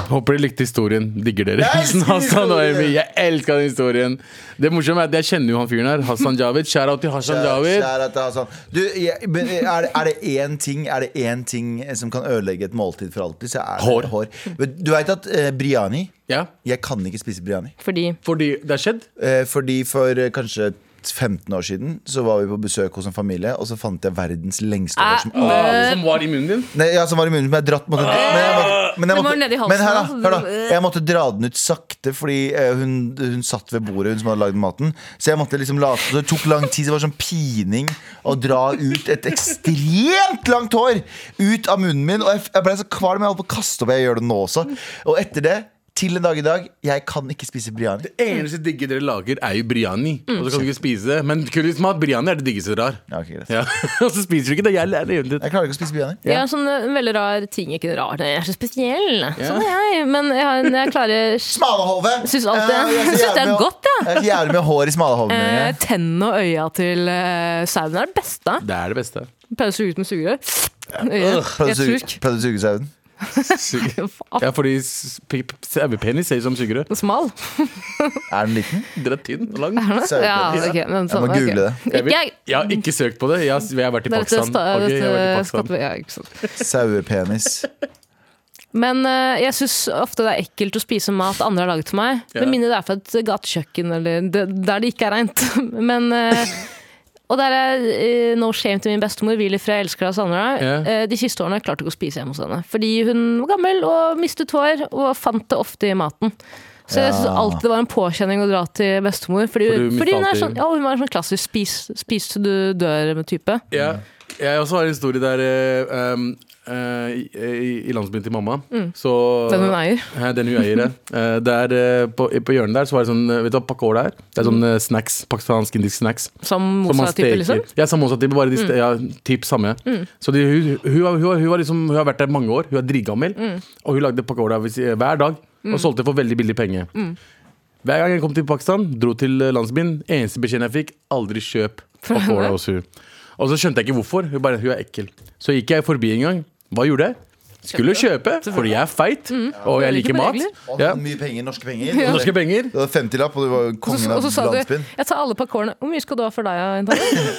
[SPEAKER 4] Håper dere likte historien. Digger dere.
[SPEAKER 2] Jeg elsker
[SPEAKER 4] Hassan og
[SPEAKER 2] historien.
[SPEAKER 4] Amy, jeg elsker den historien. Det morsomme er at jeg kjenner jo han fyren her. Hassan Javid. Shout out til Hassan Javid.
[SPEAKER 2] Kjære at det er sånn. Du, jeg, men eh, er det, er det én ting Er det én ting som kan ødelegge et måltid for alltid, så er det
[SPEAKER 4] Hår.
[SPEAKER 2] hår. Men Du veit at eh, briani
[SPEAKER 4] Ja,
[SPEAKER 2] Jeg kan ikke spise briani.
[SPEAKER 3] Fordi
[SPEAKER 4] fordi det har skjedd.
[SPEAKER 2] Eh, fordi for eh, kanskje 15 år siden Så var vi på besøk hos en familie, og så fant jeg verdens lengste hår
[SPEAKER 3] mm.
[SPEAKER 2] som
[SPEAKER 4] Ah, som var i munnen din.
[SPEAKER 2] Nei, ja, som var i munnen som jeg dratt måtte, men jeg måtte, men jeg
[SPEAKER 3] Den var
[SPEAKER 2] måtte,
[SPEAKER 3] nedi halsen,
[SPEAKER 2] men her, da,
[SPEAKER 3] altså.
[SPEAKER 2] hør da, jeg måtte dra den ut sakte Fordi eh, hun, hun satt ved bordet Hun som hadde laget maten Så jeg måtte liksom late så Det tok lang tid, så det var sånn pining Å dra ut et ekstremt langt hår Ut av munnen min Og jeg, jeg ble så kvalm, jeg holdt på å kaste opp Jeg gjør det nå også Og etter det, til en dag i dag Jeg kan ikke spise briani
[SPEAKER 4] Eneste digge dere lager, er jo briani. Og så kan du ikke spise det. Men kulismat, briani er det diggeste dere har.
[SPEAKER 2] Ja, ok, greit.
[SPEAKER 4] Ja. Og så spiser du ikke det. Jeg lærer jevnlig.
[SPEAKER 2] Jeg klarer ikke å spise briani
[SPEAKER 3] Jeg er en sånn eh, veldig rar ting. Ikke rar, jeg er så spesiell. Sånn er jeg. Men jeg, har, en- jeg klarer
[SPEAKER 2] Smalahove
[SPEAKER 3] Syns alt det-
[SPEAKER 2] Eh, jeg så
[SPEAKER 3] Syns det er
[SPEAKER 2] jævlig med-
[SPEAKER 3] godt, ja.
[SPEAKER 2] Jeg er så jævlig med hår i smalahoven
[SPEAKER 3] eh, tennene og øya til eh, sauen. er det beste.
[SPEAKER 4] Det er det beste.
[SPEAKER 3] Pleier å suge ut med sugerør. Øyet.
[SPEAKER 2] Prøvde å
[SPEAKER 3] Helt
[SPEAKER 2] suge-
[SPEAKER 3] sjuk.
[SPEAKER 2] prøvde å suge sauen
[SPEAKER 4] Ja, fordi s- p- p- sauepenis ser ut som sugerør.
[SPEAKER 3] Smal.
[SPEAKER 2] Er den liten?
[SPEAKER 4] Den er tynn og lang.
[SPEAKER 3] Ja, ok, men
[SPEAKER 2] Jeg må
[SPEAKER 3] sånn, ok.
[SPEAKER 2] google det.
[SPEAKER 4] Jeg,
[SPEAKER 3] Ikke
[SPEAKER 4] vil,
[SPEAKER 3] jeg.
[SPEAKER 4] jeg har ikke søkt på det. Jeg har, s- jeg har vært i
[SPEAKER 3] Det er dette
[SPEAKER 4] Pakistan.
[SPEAKER 3] sta-
[SPEAKER 4] Ok, jeg har vært i
[SPEAKER 3] dette
[SPEAKER 4] Pakistan.
[SPEAKER 3] skatte- ja, ikke sant.
[SPEAKER 2] Sauepenis.
[SPEAKER 3] Men eh, jeg syns ofte det er ekkelt å spise mat andre har laget til meg.
[SPEAKER 4] Ja.
[SPEAKER 3] Med mindre det er fra et gatekjøkken eller det, der det ikke er reint. Men eh, Og der er eh, no shame til min bestemor, Willy fra Jeg elsker deg, Sandra.
[SPEAKER 4] Ja.
[SPEAKER 3] Eh, de siste årene klarte jeg ikke å spise hjemme hos henne. Fordi hun var gammel og mistet hår, og fant det ofte i maten. Så jeg synes alltid det var en påkjenning å dra til bestemor. Fordi,
[SPEAKER 4] For du mistet
[SPEAKER 3] fordi hun, er
[SPEAKER 4] alltid-
[SPEAKER 3] sånn, ja, hun var en sånn klassisk spis, spis til du dør-type.
[SPEAKER 4] Ja. Jeg også har en historie der eh, um, eh, i, I landsbyen til mamma. Så,
[SPEAKER 3] Mm. Den hun eier.
[SPEAKER 4] Ja, Den hun eier, ja. Eh, der, eh, på, på hjørnet der så var det sånn eh, Vet du hva pakkola er? Det er sånn eh, snacks. Pakistansk-indisk snacks.
[SPEAKER 3] Som
[SPEAKER 4] Som man
[SPEAKER 3] Mosa-type,
[SPEAKER 4] steker.
[SPEAKER 3] liksom.
[SPEAKER 4] Ja, samosa-type, bare de ste- ja, typ samme. Så de, hun, hun, har- hun, har- hun, har liksom, hun har vært der mange år, hun er dritgammel, og hun lagde pakora hvis- eh, hver dag og solgte for veldig billig penge. Hver gang jeg kom til Pakistan, dro til eh, landsbyen, eneste beskjeden jeg fikk, aldri kjøp pakora hos hun. Og så skjønte jeg ikke hvorfor. Hun bare, hun er ekkel. Så gikk jeg forbi en gang. Hva gjorde jeg? Skulle kjøpe, fordi jeg er feit, og jeg
[SPEAKER 3] liker
[SPEAKER 4] liker mat.
[SPEAKER 3] regler.
[SPEAKER 2] Og
[SPEAKER 4] Ja.
[SPEAKER 2] så mye penger, norske penger.
[SPEAKER 4] Norske penger.
[SPEAKER 2] Du hadde 50-lapp, og du var kongen
[SPEAKER 3] Og
[SPEAKER 2] av
[SPEAKER 3] så sa du
[SPEAKER 2] landsbyen.
[SPEAKER 3] 'jeg tar alle pakkorene'. Hvor mye skal du ha for deg? Antonio?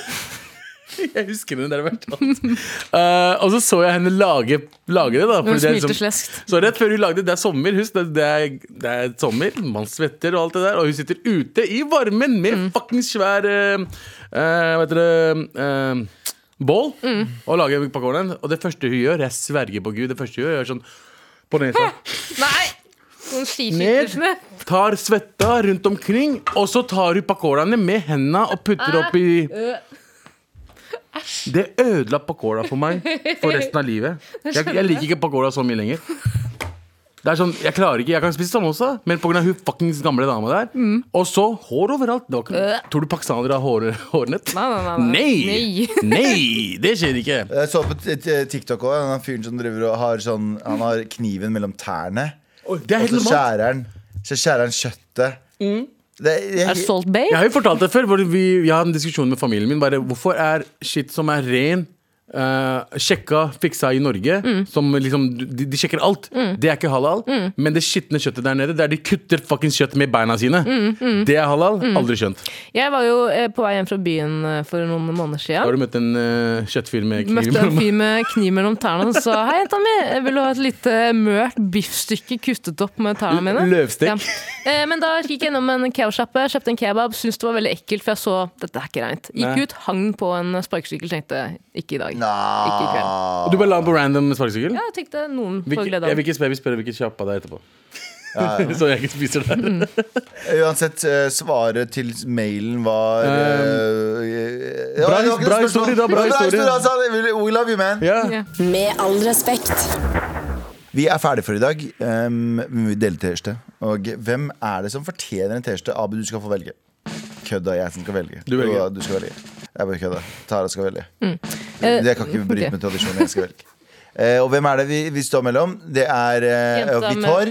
[SPEAKER 4] Jeg husker henne der hvert fall. Eh, og så så jeg henne lage, lage det. da fordi
[SPEAKER 3] Mm. Hun
[SPEAKER 4] det er
[SPEAKER 3] smilte
[SPEAKER 4] liksom-
[SPEAKER 3] sleskt.
[SPEAKER 4] Så rett før hun lagde det, det er sommer, husk. Det, det, er, det er sommer, man svetter og alt det der. Og hun sitter ute i varmen med
[SPEAKER 3] Mm.
[SPEAKER 4] fuckings svær eh, eh, Hva heter det eh, Bål.
[SPEAKER 3] Mm.
[SPEAKER 4] Og lager pakkornen. Og det første hun gjør, jeg sverger på gud, det første hun gjør, er sånn på nesa.
[SPEAKER 3] Nei! Noen skiskytelsene.
[SPEAKER 4] Ned, tar svetta rundt omkring, og så tar hun pakolaene med henda og putter opp i
[SPEAKER 3] Eh,
[SPEAKER 4] Det ødela pakola for meg for resten av livet. Jeg, jeg liker ikke pakola så mye lenger. Det er sånn, Jeg klarer ikke, jeg kan spise samosa, men pga. hun fuckings gamle dama der.
[SPEAKER 3] Mm.
[SPEAKER 4] Og så hår overalt. Det var ikke, tror du pakistanere har hår, hårnett?
[SPEAKER 3] Øh. Nei, nei, nei, nei.
[SPEAKER 4] Nei! Nei! Det skjer ikke.
[SPEAKER 2] Jeg så på t- t- TikTok òg, han fyren som driver og har sånn Han har kniven mellom tærne,
[SPEAKER 4] Oi, Det er
[SPEAKER 2] og
[SPEAKER 4] helt
[SPEAKER 2] så
[SPEAKER 4] normalt. Mm.
[SPEAKER 2] skjærer han Så skjærer han kjøttet. Det, jeg,
[SPEAKER 3] Er sånn? Salt Bay?
[SPEAKER 4] Jeg har jo fortalt det før. Hvor vi, jeg har hatt en diskusjon med familien min. Bare, hvorfor er shit som er ren, eh, sjekka, fiksa i Norge
[SPEAKER 3] Mm.
[SPEAKER 4] som liksom, de, de sjekker alt. Det er ikke halal. Men det skitne kjøttet der nede, der de kutter fuckings kjøtt med beina sine,
[SPEAKER 3] Mm,
[SPEAKER 4] det er halal. Aldri skjønt.
[SPEAKER 3] Jeg var jo eh, på vei hjem fra byen eh, for noen måneder
[SPEAKER 4] Da
[SPEAKER 3] siden.
[SPEAKER 4] har du møtt en eh, kjøttfyr med kniv.
[SPEAKER 3] Møtte en fyr med kniv mellom tærne og sa Hei, jenta mi, jeg vil du ha et lite mørt biffstykke kuttet opp med tærne mine?
[SPEAKER 4] Løvstek.
[SPEAKER 3] Ja. Eh, Men da gikk jeg innom en kebabsjappe, kjøpte en kebab, syntes det var veldig ekkelt, for jeg så dette er ikke reint.
[SPEAKER 4] Nei.
[SPEAKER 3] Gikk ut, hang på en sparkesykkel, tenkte ikke i dag. Ikke i kveld.
[SPEAKER 2] Nei.
[SPEAKER 4] Og Du bare la den på random sparkesykkel?
[SPEAKER 3] Ja, jeg tenkte noen får
[SPEAKER 4] Hvilke-
[SPEAKER 3] glede
[SPEAKER 4] Jeg vil
[SPEAKER 3] av det.
[SPEAKER 4] ikke spørre, jeg vil spørre hvilken sjappa det er etterpå. så jeg ikke spiser der.
[SPEAKER 3] Mm.
[SPEAKER 2] Uansett, eh, svaret til mailen var eh, ja, det
[SPEAKER 4] bra-
[SPEAKER 2] var ikke noe
[SPEAKER 4] bra
[SPEAKER 2] spørsmål.
[SPEAKER 4] historie, det var bra
[SPEAKER 2] Det var
[SPEAKER 4] historie.
[SPEAKER 2] altså. We- We love you, man.
[SPEAKER 4] Ja.
[SPEAKER 3] Ja.
[SPEAKER 5] Med all respekt.
[SPEAKER 2] Vi er ferdige for i dag. Um, vi vil dele T-skjorte. Og hvem er det som fortjener en T-skjorte? Abu, du skal få velge. Kødda, jeg som skal velge.
[SPEAKER 4] Du velger.
[SPEAKER 2] Ja, Du skal velge. Jeg bare kødda. Tara skal velge.
[SPEAKER 3] Eh,
[SPEAKER 2] Jeg kan ikke bryte
[SPEAKER 3] ok.
[SPEAKER 2] med tradisjonen. Jeg skal velge. Eh, og hvem er det vi, vi står mellom? Det er eh,
[SPEAKER 3] Jenta
[SPEAKER 2] hvitt
[SPEAKER 3] med- mm.
[SPEAKER 2] hår.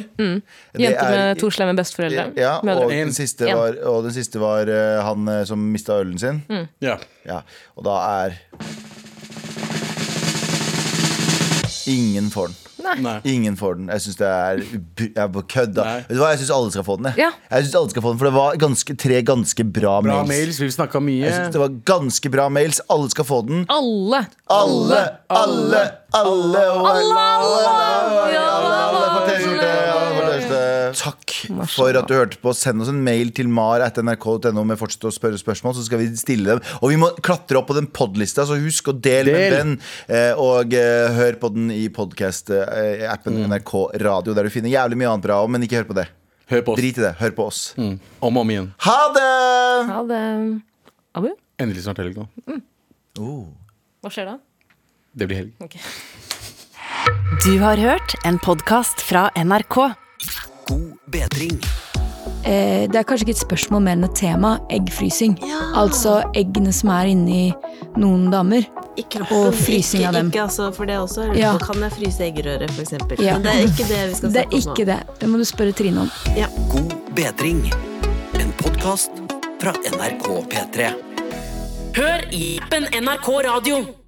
[SPEAKER 2] Det
[SPEAKER 3] Jente
[SPEAKER 2] er-
[SPEAKER 3] med to slemme besteforeldre.
[SPEAKER 2] Ja, og
[SPEAKER 3] Mødre.
[SPEAKER 2] den siste
[SPEAKER 3] En.
[SPEAKER 2] var, og den siste var eh, han eh, som mista ølen sin.
[SPEAKER 3] Mm.
[SPEAKER 4] Ja.
[SPEAKER 2] Ja, og da er Ingen får den.
[SPEAKER 4] Nei.
[SPEAKER 2] Ingen får den. Jeg syns det er ubry- Jeg bare kødda.
[SPEAKER 4] Nei.
[SPEAKER 2] Vet du hva, jeg syns alle skal få den. Jeg,
[SPEAKER 3] Ja.
[SPEAKER 2] jeg synes alle skal få den For det var ganske, tre ganske bra,
[SPEAKER 4] Bra
[SPEAKER 2] mails.
[SPEAKER 4] mails, vi snakka
[SPEAKER 2] Jeg synes
[SPEAKER 4] mye.
[SPEAKER 2] det var ganske bra mails. Alle skal få den.
[SPEAKER 3] Alle!
[SPEAKER 2] Alle, alle, alle og alle, alle, alle, alle får T-skjorte, alle får T-skjorte. Takk for at du hørte på. Send oss en mail til mar.nrk.no med fortsett å spørre spørsmål, så skal vi stille dem. Og vi må klatre opp på den podlista, så husk å dele med
[SPEAKER 4] Del.
[SPEAKER 2] en venn. eh, Og eh, hør på den i podkast-appen NRK Radio, der du finner jævlig mye annet bra òg, men ikke hør på det.
[SPEAKER 4] Hør på oss Mm.
[SPEAKER 2] Drit i det. Hør på oss.
[SPEAKER 4] om og om igjen.
[SPEAKER 2] Ha det!
[SPEAKER 3] Ha det. Abu,
[SPEAKER 4] Endelig snart helg nå.
[SPEAKER 2] Oh.
[SPEAKER 3] hva skjer da?
[SPEAKER 4] Det blir helg.
[SPEAKER 1] Du har hørt en podkast fra NRK.
[SPEAKER 6] God bedring.
[SPEAKER 7] eh, Det er kanskje ikke et spørsmål mer enn et tema. Eggfrysing. Altså eggene som er inni noen damer.
[SPEAKER 8] I kroppen,
[SPEAKER 7] Og frysing
[SPEAKER 8] ikke,
[SPEAKER 7] av dem.
[SPEAKER 8] Ikke altså for det også.
[SPEAKER 7] Ja.
[SPEAKER 8] Ja. Kan jeg fryse eggerøre, for eksempel?
[SPEAKER 7] Ja.
[SPEAKER 8] Men det er ikke det vi skal
[SPEAKER 7] Det er
[SPEAKER 8] snakke om
[SPEAKER 7] ikke det. Det må du spørre Trine om.
[SPEAKER 6] God bedring. En podkast fra NRK P3.
[SPEAKER 5] Hør i appen NRK Radio.